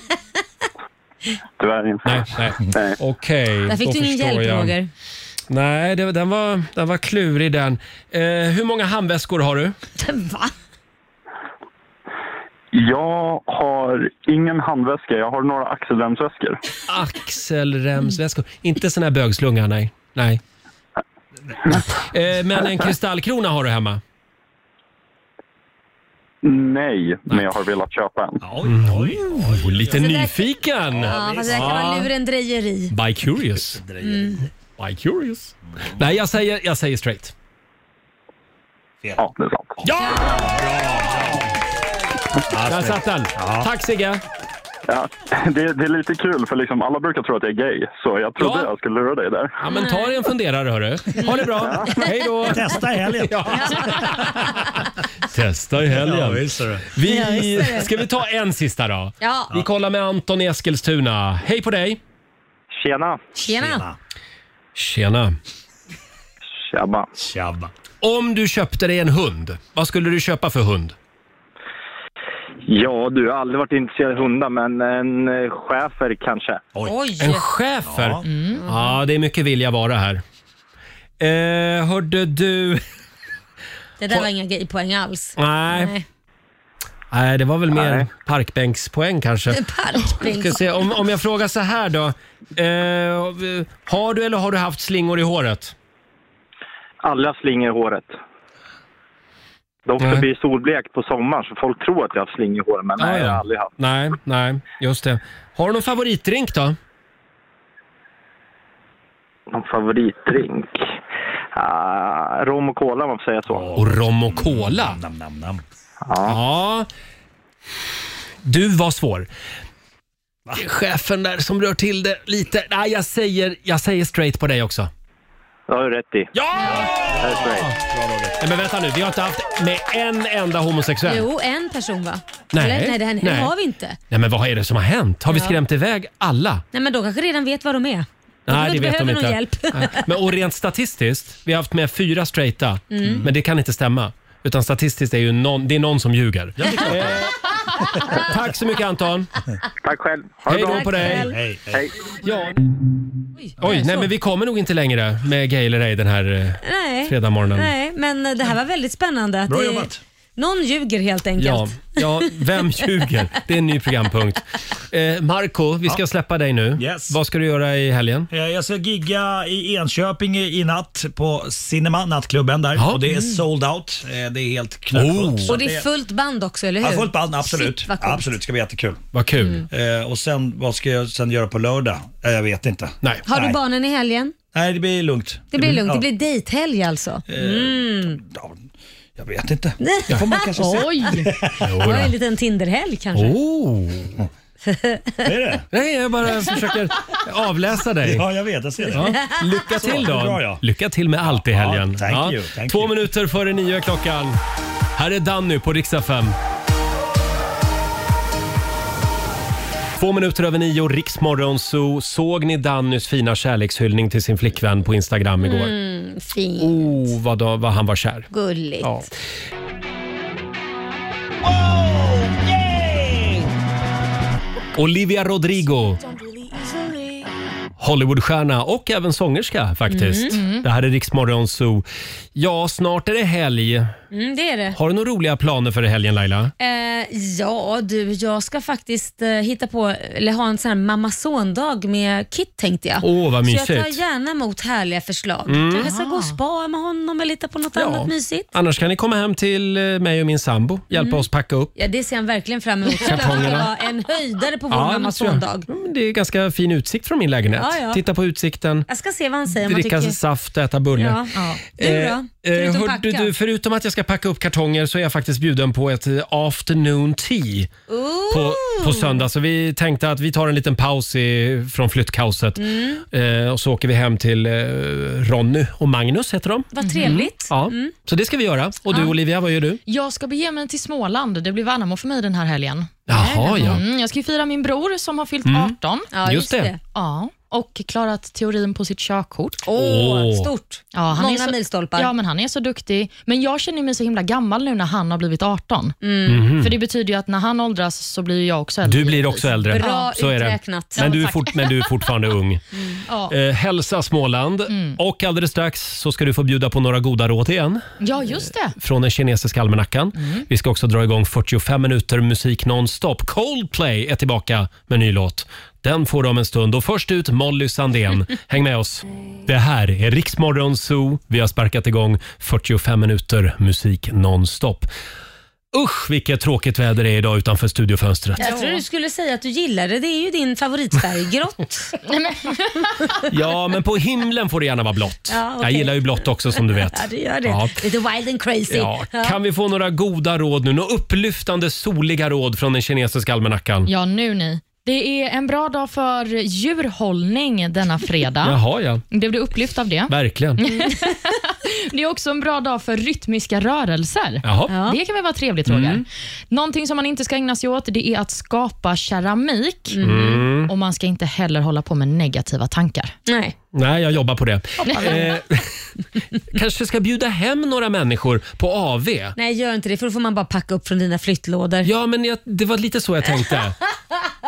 T: Tyvärr inte.
A: Nej, nej. Okej,
B: Där fick
A: då
B: du ingen
A: förstår
B: hjälp
A: jag.
B: Roger.
A: Nej, det, den, var, den var klurig den. Eh, hur många handväskor har du?
B: Va?
T: Jag har ingen handväska, jag har några axelremsväskor.
A: Axelremsväskor. Inte sån här bögslunga, nej. nej. Eh, men en kristallkrona har du hemma?
T: Nej, men jag har velat köpa en.
A: Mm, Oj, oj, lite
B: Så där-
A: nyfiken.
B: Ja, fast det där kan vara lurendrejeri.
A: By curious.
B: Mm.
A: By curious. Nej, jag säger, jag säger straight.
T: Ja, det är sant.
A: Ja! Där satt den. Tack Sigge.
T: Ja, det, det är lite kul, för liksom alla brukar tro att jag är gay, så jag trodde
A: Ja.
T: jag skulle lura dig där.
A: Ja, men ta dig en funderare hörru. Ha det bra. Hej då.
I: Testa i helgen.
A: Testa i helgen.
I: Ja, visst är det.
B: Ja,
A: Vi,
B: visst är det.
A: ska vi ta en sista då?
B: Ja.
A: Vi kollar med Anton i Eskilstuna. Hej på dig!
T: Tjena!
B: Tjena.
A: Tjena.
T: Tjabba.
I: Tjabba.
A: Om du köpte dig en hund, vad skulle du köpa för hund?
R: Ja, du jag har aldrig varit intresserad av hundar, men en eh, schäfer kanske.
B: Oj.
A: En schäfer? Ja. det är mycket vilja vara här. Eh, hörde du...
B: Det där var inga gaypoäng alls.
A: Nej. Nej, det var väl mer parkbänkspoäng kanske.
B: Parkbänks.
A: Ska se, om, om jag frågar så här då. Eh, har du eller har du haft slingor i håret?
R: Alla slingor i håret. De ofta blir solblekt på sommaren, så folk tror att jag har haft slingor i håret, men nej,
A: Ah,
R: jag
A: ja.
R: har aldrig haft.
A: Nej, nej, just det. Har du någon favoritdrink då?
R: Någon favoritdrink? Ah, rom och cola, om man får säga så.
A: Och rom och cola? Ja. Du var svår. Det är Chefen där som rör till det lite. Nej, jag säger, jag säger straight på dig också.
R: Det har du rätt i.
A: Ja! Nej, men vänta nu, vi har inte haft med en enda homosexuell.
B: Jo, en person va?
A: Nej.
B: Eller, nej, det här,
A: Nej.
B: nej. har vi inte.
A: Nej, men vad är det som har hänt? Har vi
B: Ja.
A: skrämt iväg alla?
B: Nej, men de kanske redan vet vad de är. De
A: Nej,
B: kanske
A: det vet de
B: behöver
A: inte.
B: någon hjälp.
A: Nej. Men, och rent statistiskt, vi har haft med fyra straighta,
B: Mm.
A: men det kan inte stämma. Utan statistiskt är ju någon, det är någon som ljuger. Eh, Tack så mycket Anton.
R: Tack själv.
D: Ha det
A: Hej då
D: bra.
A: på dig.
D: Tack själv. Hej,
R: Hej.
A: Ja. Oj, nej men vi kommer nog inte längre med gay eller ej den här eh,
B: Nej.
A: fredagmorgonen.
B: Nej, men det här var väldigt spännande. Att
A: Bra
B: det-
A: jobbat.
B: Någon ljuger helt enkelt.
A: Ja, ja, vem ljuger? Det är en ny programpunkt. Eh, Marco, vi ska
I: Ja.
A: släppa dig nu.
I: Yes.
A: Vad ska du göra i helgen?
I: Eh, Jag ska gigga i Enköping i i natt på Cinema, nattklubben där. Och det är
B: Mm.
I: sold out. Eh, Det är helt knökfullt.
A: Oh.
I: Så
B: Och det är fullt band också, eller hur?
I: Ja, fullt band, absolut.
B: Shit, vad coolt.
I: absolut, det ska bli jättekul.
A: Vad
B: kul.
I: Eh, och sen, vad ska jag sen göra på lördag? Eh, jag vet inte.
A: Nej.
B: Har du barnen i helgen?
I: Nej, det blir lugnt.
B: Det blir lugnt.
I: Mm, ja.
B: Det blir dejthelg alltså. Mm.
I: Jag vet inte. Det får man kanske se.
B: Oj! Det var en liten Tinderhelg kanske.
A: Oh.
I: Vad är det?
A: Nej, jag bara försöker avläsa dig.
I: Ja, jag vet. Jag ser det.
A: Ja.
I: Så,
A: Lycka till
I: det är
A: då.
I: bra, ja.
A: Lycka till med allt i helgen.
I: Ja, thank you, thank
A: Två minuter före nio är klockan. Här är Danny på riksdag 5. Två minuter över nio, Riksmorgon så Såg ni Dannys fina kärlekshyllning till sin flickvän på Instagram igår?
B: Mm, fint.
A: Oh, vad, då, vad han var kär.
B: Gulligt.
A: Ja. Oh, Olivia Rodrigo, Hollywoodstjärna och även sångerska faktiskt.
B: Mm, mm.
A: Det här är Riksmorgon Zoo. Ja, snart är det helg.
B: Mm, det är det.
A: Har du några roliga planer för helgen Laila?
B: Eh, ja du, jag ska faktiskt eh, hitta på, eller ha en sån här mamma-son-dag med Kit tänkte jag.
A: Åh, vad
B: Så jag tar
A: mysigt.
B: gärna emot härliga förslag.
A: Mm.
B: Kanske ska gå och spa med honom eller hitta på något annat mysigt.
A: Annars kan ni komma hem till eh, mig och min sambo, hjälpa
B: Mm.
A: oss packa upp.
B: Ja, det ser han verkligen fram emot. Det
A: Kartongerna.
B: var en höjdare på vår
A: Ja, det
B: mamma
A: tror jag.
B: son-dag.
A: Mm, Det är ganska fin utsikt från min lägenhet.
B: Ja, ja.
A: Titta på utsikten,
B: Jag ska se vad han säger om han
A: dricka
B: tycker...
A: saft, äta bulle.
B: Ja. Ja. Du då?
A: Eh,
B: Förutom
A: hörde
B: packa.
A: du, förutom att jag ska packa upp kartonger så är jag faktiskt bjuden på ett eh, afternoon tea
B: Oh,
A: på, på söndag. Så vi tänkte att vi tar en liten paus i, från flyttkaoset
B: Mm.
A: eh, och så åker vi hem till eh, Ronny och Magnus heter de.
C: Vad trevligt.
A: Mm. Ja.
C: Mm.
A: Så det ska vi göra. Och du
C: Ja.
A: Olivia, vad gör du?
C: Jag ska bege mig till Småland. Det blir Värnamo för mig den här helgen.
A: Jaha, ja.
C: Mm, jag ska ju fira min bror som har fyllt
A: Mm.
C: 18.
A: Ja, just Just det. det.
C: Ja, och klarat teorin på sitt körkort.
A: Åh.
B: stort.
C: Ja, han
B: Många
C: är så,
B: milstolpar.
C: Ja, men han är så duktig. Men jag känner mig så himla gammal nu när han har blivit 18.
A: Mm. Mhm.
C: För det betyder ju att när han åldras så blir ju jag också äldre.
A: Du blir också äldre.
C: Bra
A: så är det.
C: uträknat.
A: Men,
C: Ja,
A: du är
C: tack. Mm.
A: fort, men du är fortfarande ung.
C: Ja. Mm.
A: Eh, hälsa Småland. Och alldeles strax så ska du få bjuda på några goda råd igen.
C: ja, just det.
A: Från den kinesiska almanackan.
B: Mm.
A: Vi ska också dra igång 45 minuter musik nonstop. Coldplay är tillbaka med ny låt. Den får du om en stund. Och först ut Molly Sandén. Häng med oss. Det här är Riksmorgon Zoo. Vi har sparkat igång 45 minuter musik nonstop. Usch, vilket tråkigt väder det är idag utanför studiofönstret.
B: Jag tror du skulle säga att du gillade det. Det är ju din favoritfärg, grått.
A: Ja, men på himlen får det gärna vara blått.
B: Ja, okej.
A: Jag gillar ju blått också som du vet.
B: Ja, du gör det.
A: Ja.
B: Lite wild and crazy.
A: Ja, kan vi få några goda råd nu? Några upplyftande soliga råd från den kinesiska almanackan?
C: Ja, nu ni. Det är en bra dag för djurhållning denna fredag.
A: Jaha, ja.
C: Blev du upplyft av det?
A: Verkligen.
C: Det är också en bra dag för rytmiska rörelser.
A: Jaha. Ja.
C: Det kan väl vara trevligt, Roger.
A: Mm.
C: Någonting som man inte ska ägna sig åt det är att skapa keramik.
A: Mm.
C: Och Man ska inte heller hålla på med negativa tankar.
B: Nej.
A: Nej, jag jobbar på det.
C: Hoppas.
A: Eh, kanske ska bjuda hem några människor på AV.
B: Nej, gör inte det för då får man bara packa upp från dina flyttlådor.
A: Ja, men jag, det var lite så jag tänkte.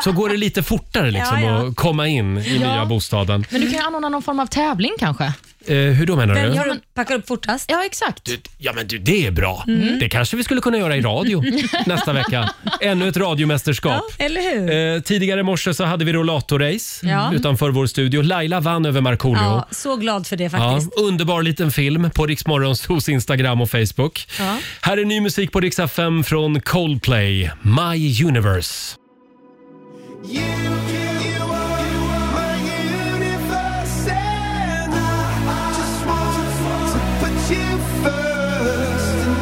A: Så går det lite fortare liksom
C: Ja, ja.
A: att komma in i
C: Ja.
A: nya bostaden.
C: Men du kan ju anordna någon form av tävling kanske?
A: Eh, hur då menar du?
B: packar upp fortast?
C: Ja, exakt.
A: Du, ja men du, det är bra.
C: Mm.
A: Det kanske vi skulle kunna göra i radio nästa vecka. Ännu ett radiomästerskap.
B: Eller hur?
A: Eh, tidigare i morse så hade vi rollatorrace
B: Ja.
A: utanför vår studio. Laila vann över Markoolio.
B: Ja, så glad för det faktiskt.
A: Ja, underbar liten film på Riksmorgons hos Instagram och Facebook.
B: Ja.
A: Här är ny musik på Riksa 5 från Coldplay, My Universe.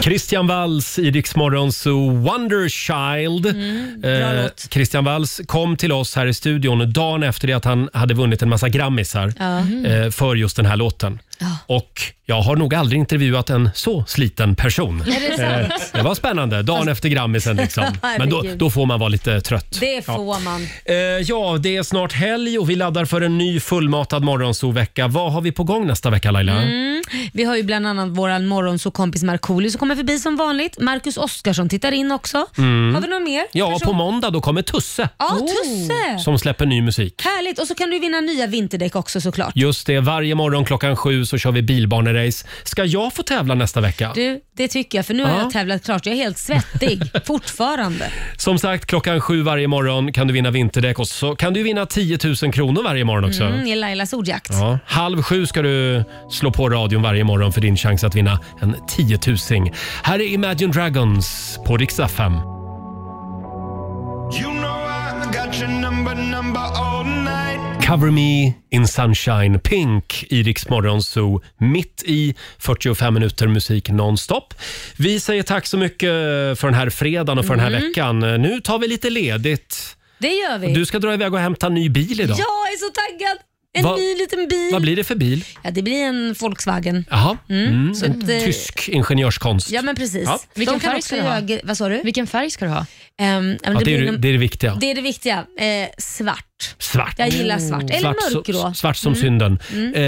A: Christian Walls i Rix Morgon Zoo, Wonder Child.
B: Mm,
A: Eh, Christian Walls kom till oss här i studion dagen efter det att han hade vunnit en massa grammisar
D: Ja.
B: Mm.
A: eh, för just den här låten. Och jag har nog aldrig intervjuat en så sliten person. Eh,
B: Är det sant? Alltså-
A: det var spännande. Dagen efter grammisen liksom. Men då,
B: Herregud.
A: då får man vara lite trött.
B: Det
A: Ja.
B: får man.
A: Eh, ja, det är snart helg och vi laddar för en ny fullmatad morgonsovecka. Vad har vi på gång nästa vecka Laila?
B: Mm. Vi har ju bland annat vår morgonsåkompis Markoolio som kommer förbi som vanligt. Marcus Oskarsson tittar in också.
A: Mm.
B: Har vi någon mer?
A: Ja,
B: Person-
A: på måndag då kommer Tusse.
B: Ja, Tusse!
A: Som släpper ny musik.
B: Härligt! Och så kan du vinna nya vinterdäck också såklart.
A: Just det, varje morgon klockan sju så kör vi bilbanerace. Ska jag få tävla nästa vecka?
B: Du, det tycker jag för nu har
A: Ja.
B: jag tävlat klart. Jag är helt svettig fortfarande.
A: Som sagt, klockan sju varje morgon kan du vinna vinterdäck och så kan du vinna 10 000 kronor varje morgon också.
B: Mm, I Lailas ordjakt.
A: Ja, halv sju ska du slå på radion varje morgon för din chans att vinna en 10 000. Här är Imagine Dragons på riksdag 5. Cover Me in Sunshine, Pink i Rix Morgon Zoo. Mitt i 45 minuter musik nonstop. Vi säger tack så mycket för den här fredagen och för den här
B: Mm.
A: veckan. Nu tar vi lite ledigt.
B: Det gör vi.
A: Du ska dra iväg och hämta en ny bil idag.
B: Jag är så taggad! En
A: Vad-
B: ny liten bil.
A: Vad blir det för bil?
B: Ja, det blir en Volkswagen.
A: Jaha, mm.
B: så
A: en
B: att, eh,
A: tysk ingenjörskonst.
B: Ja men precis.
A: Ja.
C: Vilken
B: De kan
C: färg
B: också
C: ska du ha?
B: göra- Vad sa du? Ehm,
C: Vilken färg ska du ha?
A: Ja, det, är, ju- det är det viktiga.
B: Det är det viktiga. Eh, svart.
A: Svart.
B: Jag gillar svart. Eller
A: så-
B: mörkgrå.
A: Svart som
B: Mm.
A: synden.
B: Mm.
A: Eh,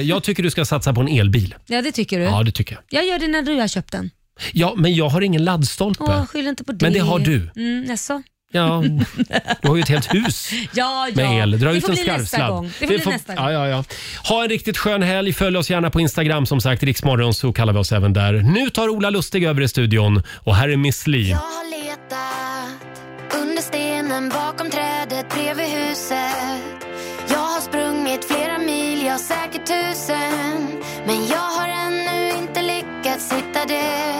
A: jag tycker du ska satsa på en elbil.
B: Ja, det tycker du.
A: Ja, det tycker jag.
B: Jag gör det när du har köpt den.
A: Ja, men jag har ingen laddstolpe.
B: Åh, skyll inte på det.
A: Men det har du.
B: Mm, jaså?
A: Ja, du har ju ett helt hus
U: Ja, ja.
A: med el. Dra
U: det
A: ut
U: får
A: en
U: bli nästa gång.
A: skarvsladd.
U: Det får bli nästa gång.
A: ja, ja, ja. Ha en riktigt skön helg. Följ oss gärna på Instagram som sagt. Riksmorgon så kallar vi oss även där. Nu tar Ola Lustig över i studion och här är Miss Li.
B: har letat under stenen bakom trädet bredvid huset. Jag har sprungit flera mil, jag säkert tusen. Men jag har ännu inte lyckats hitta det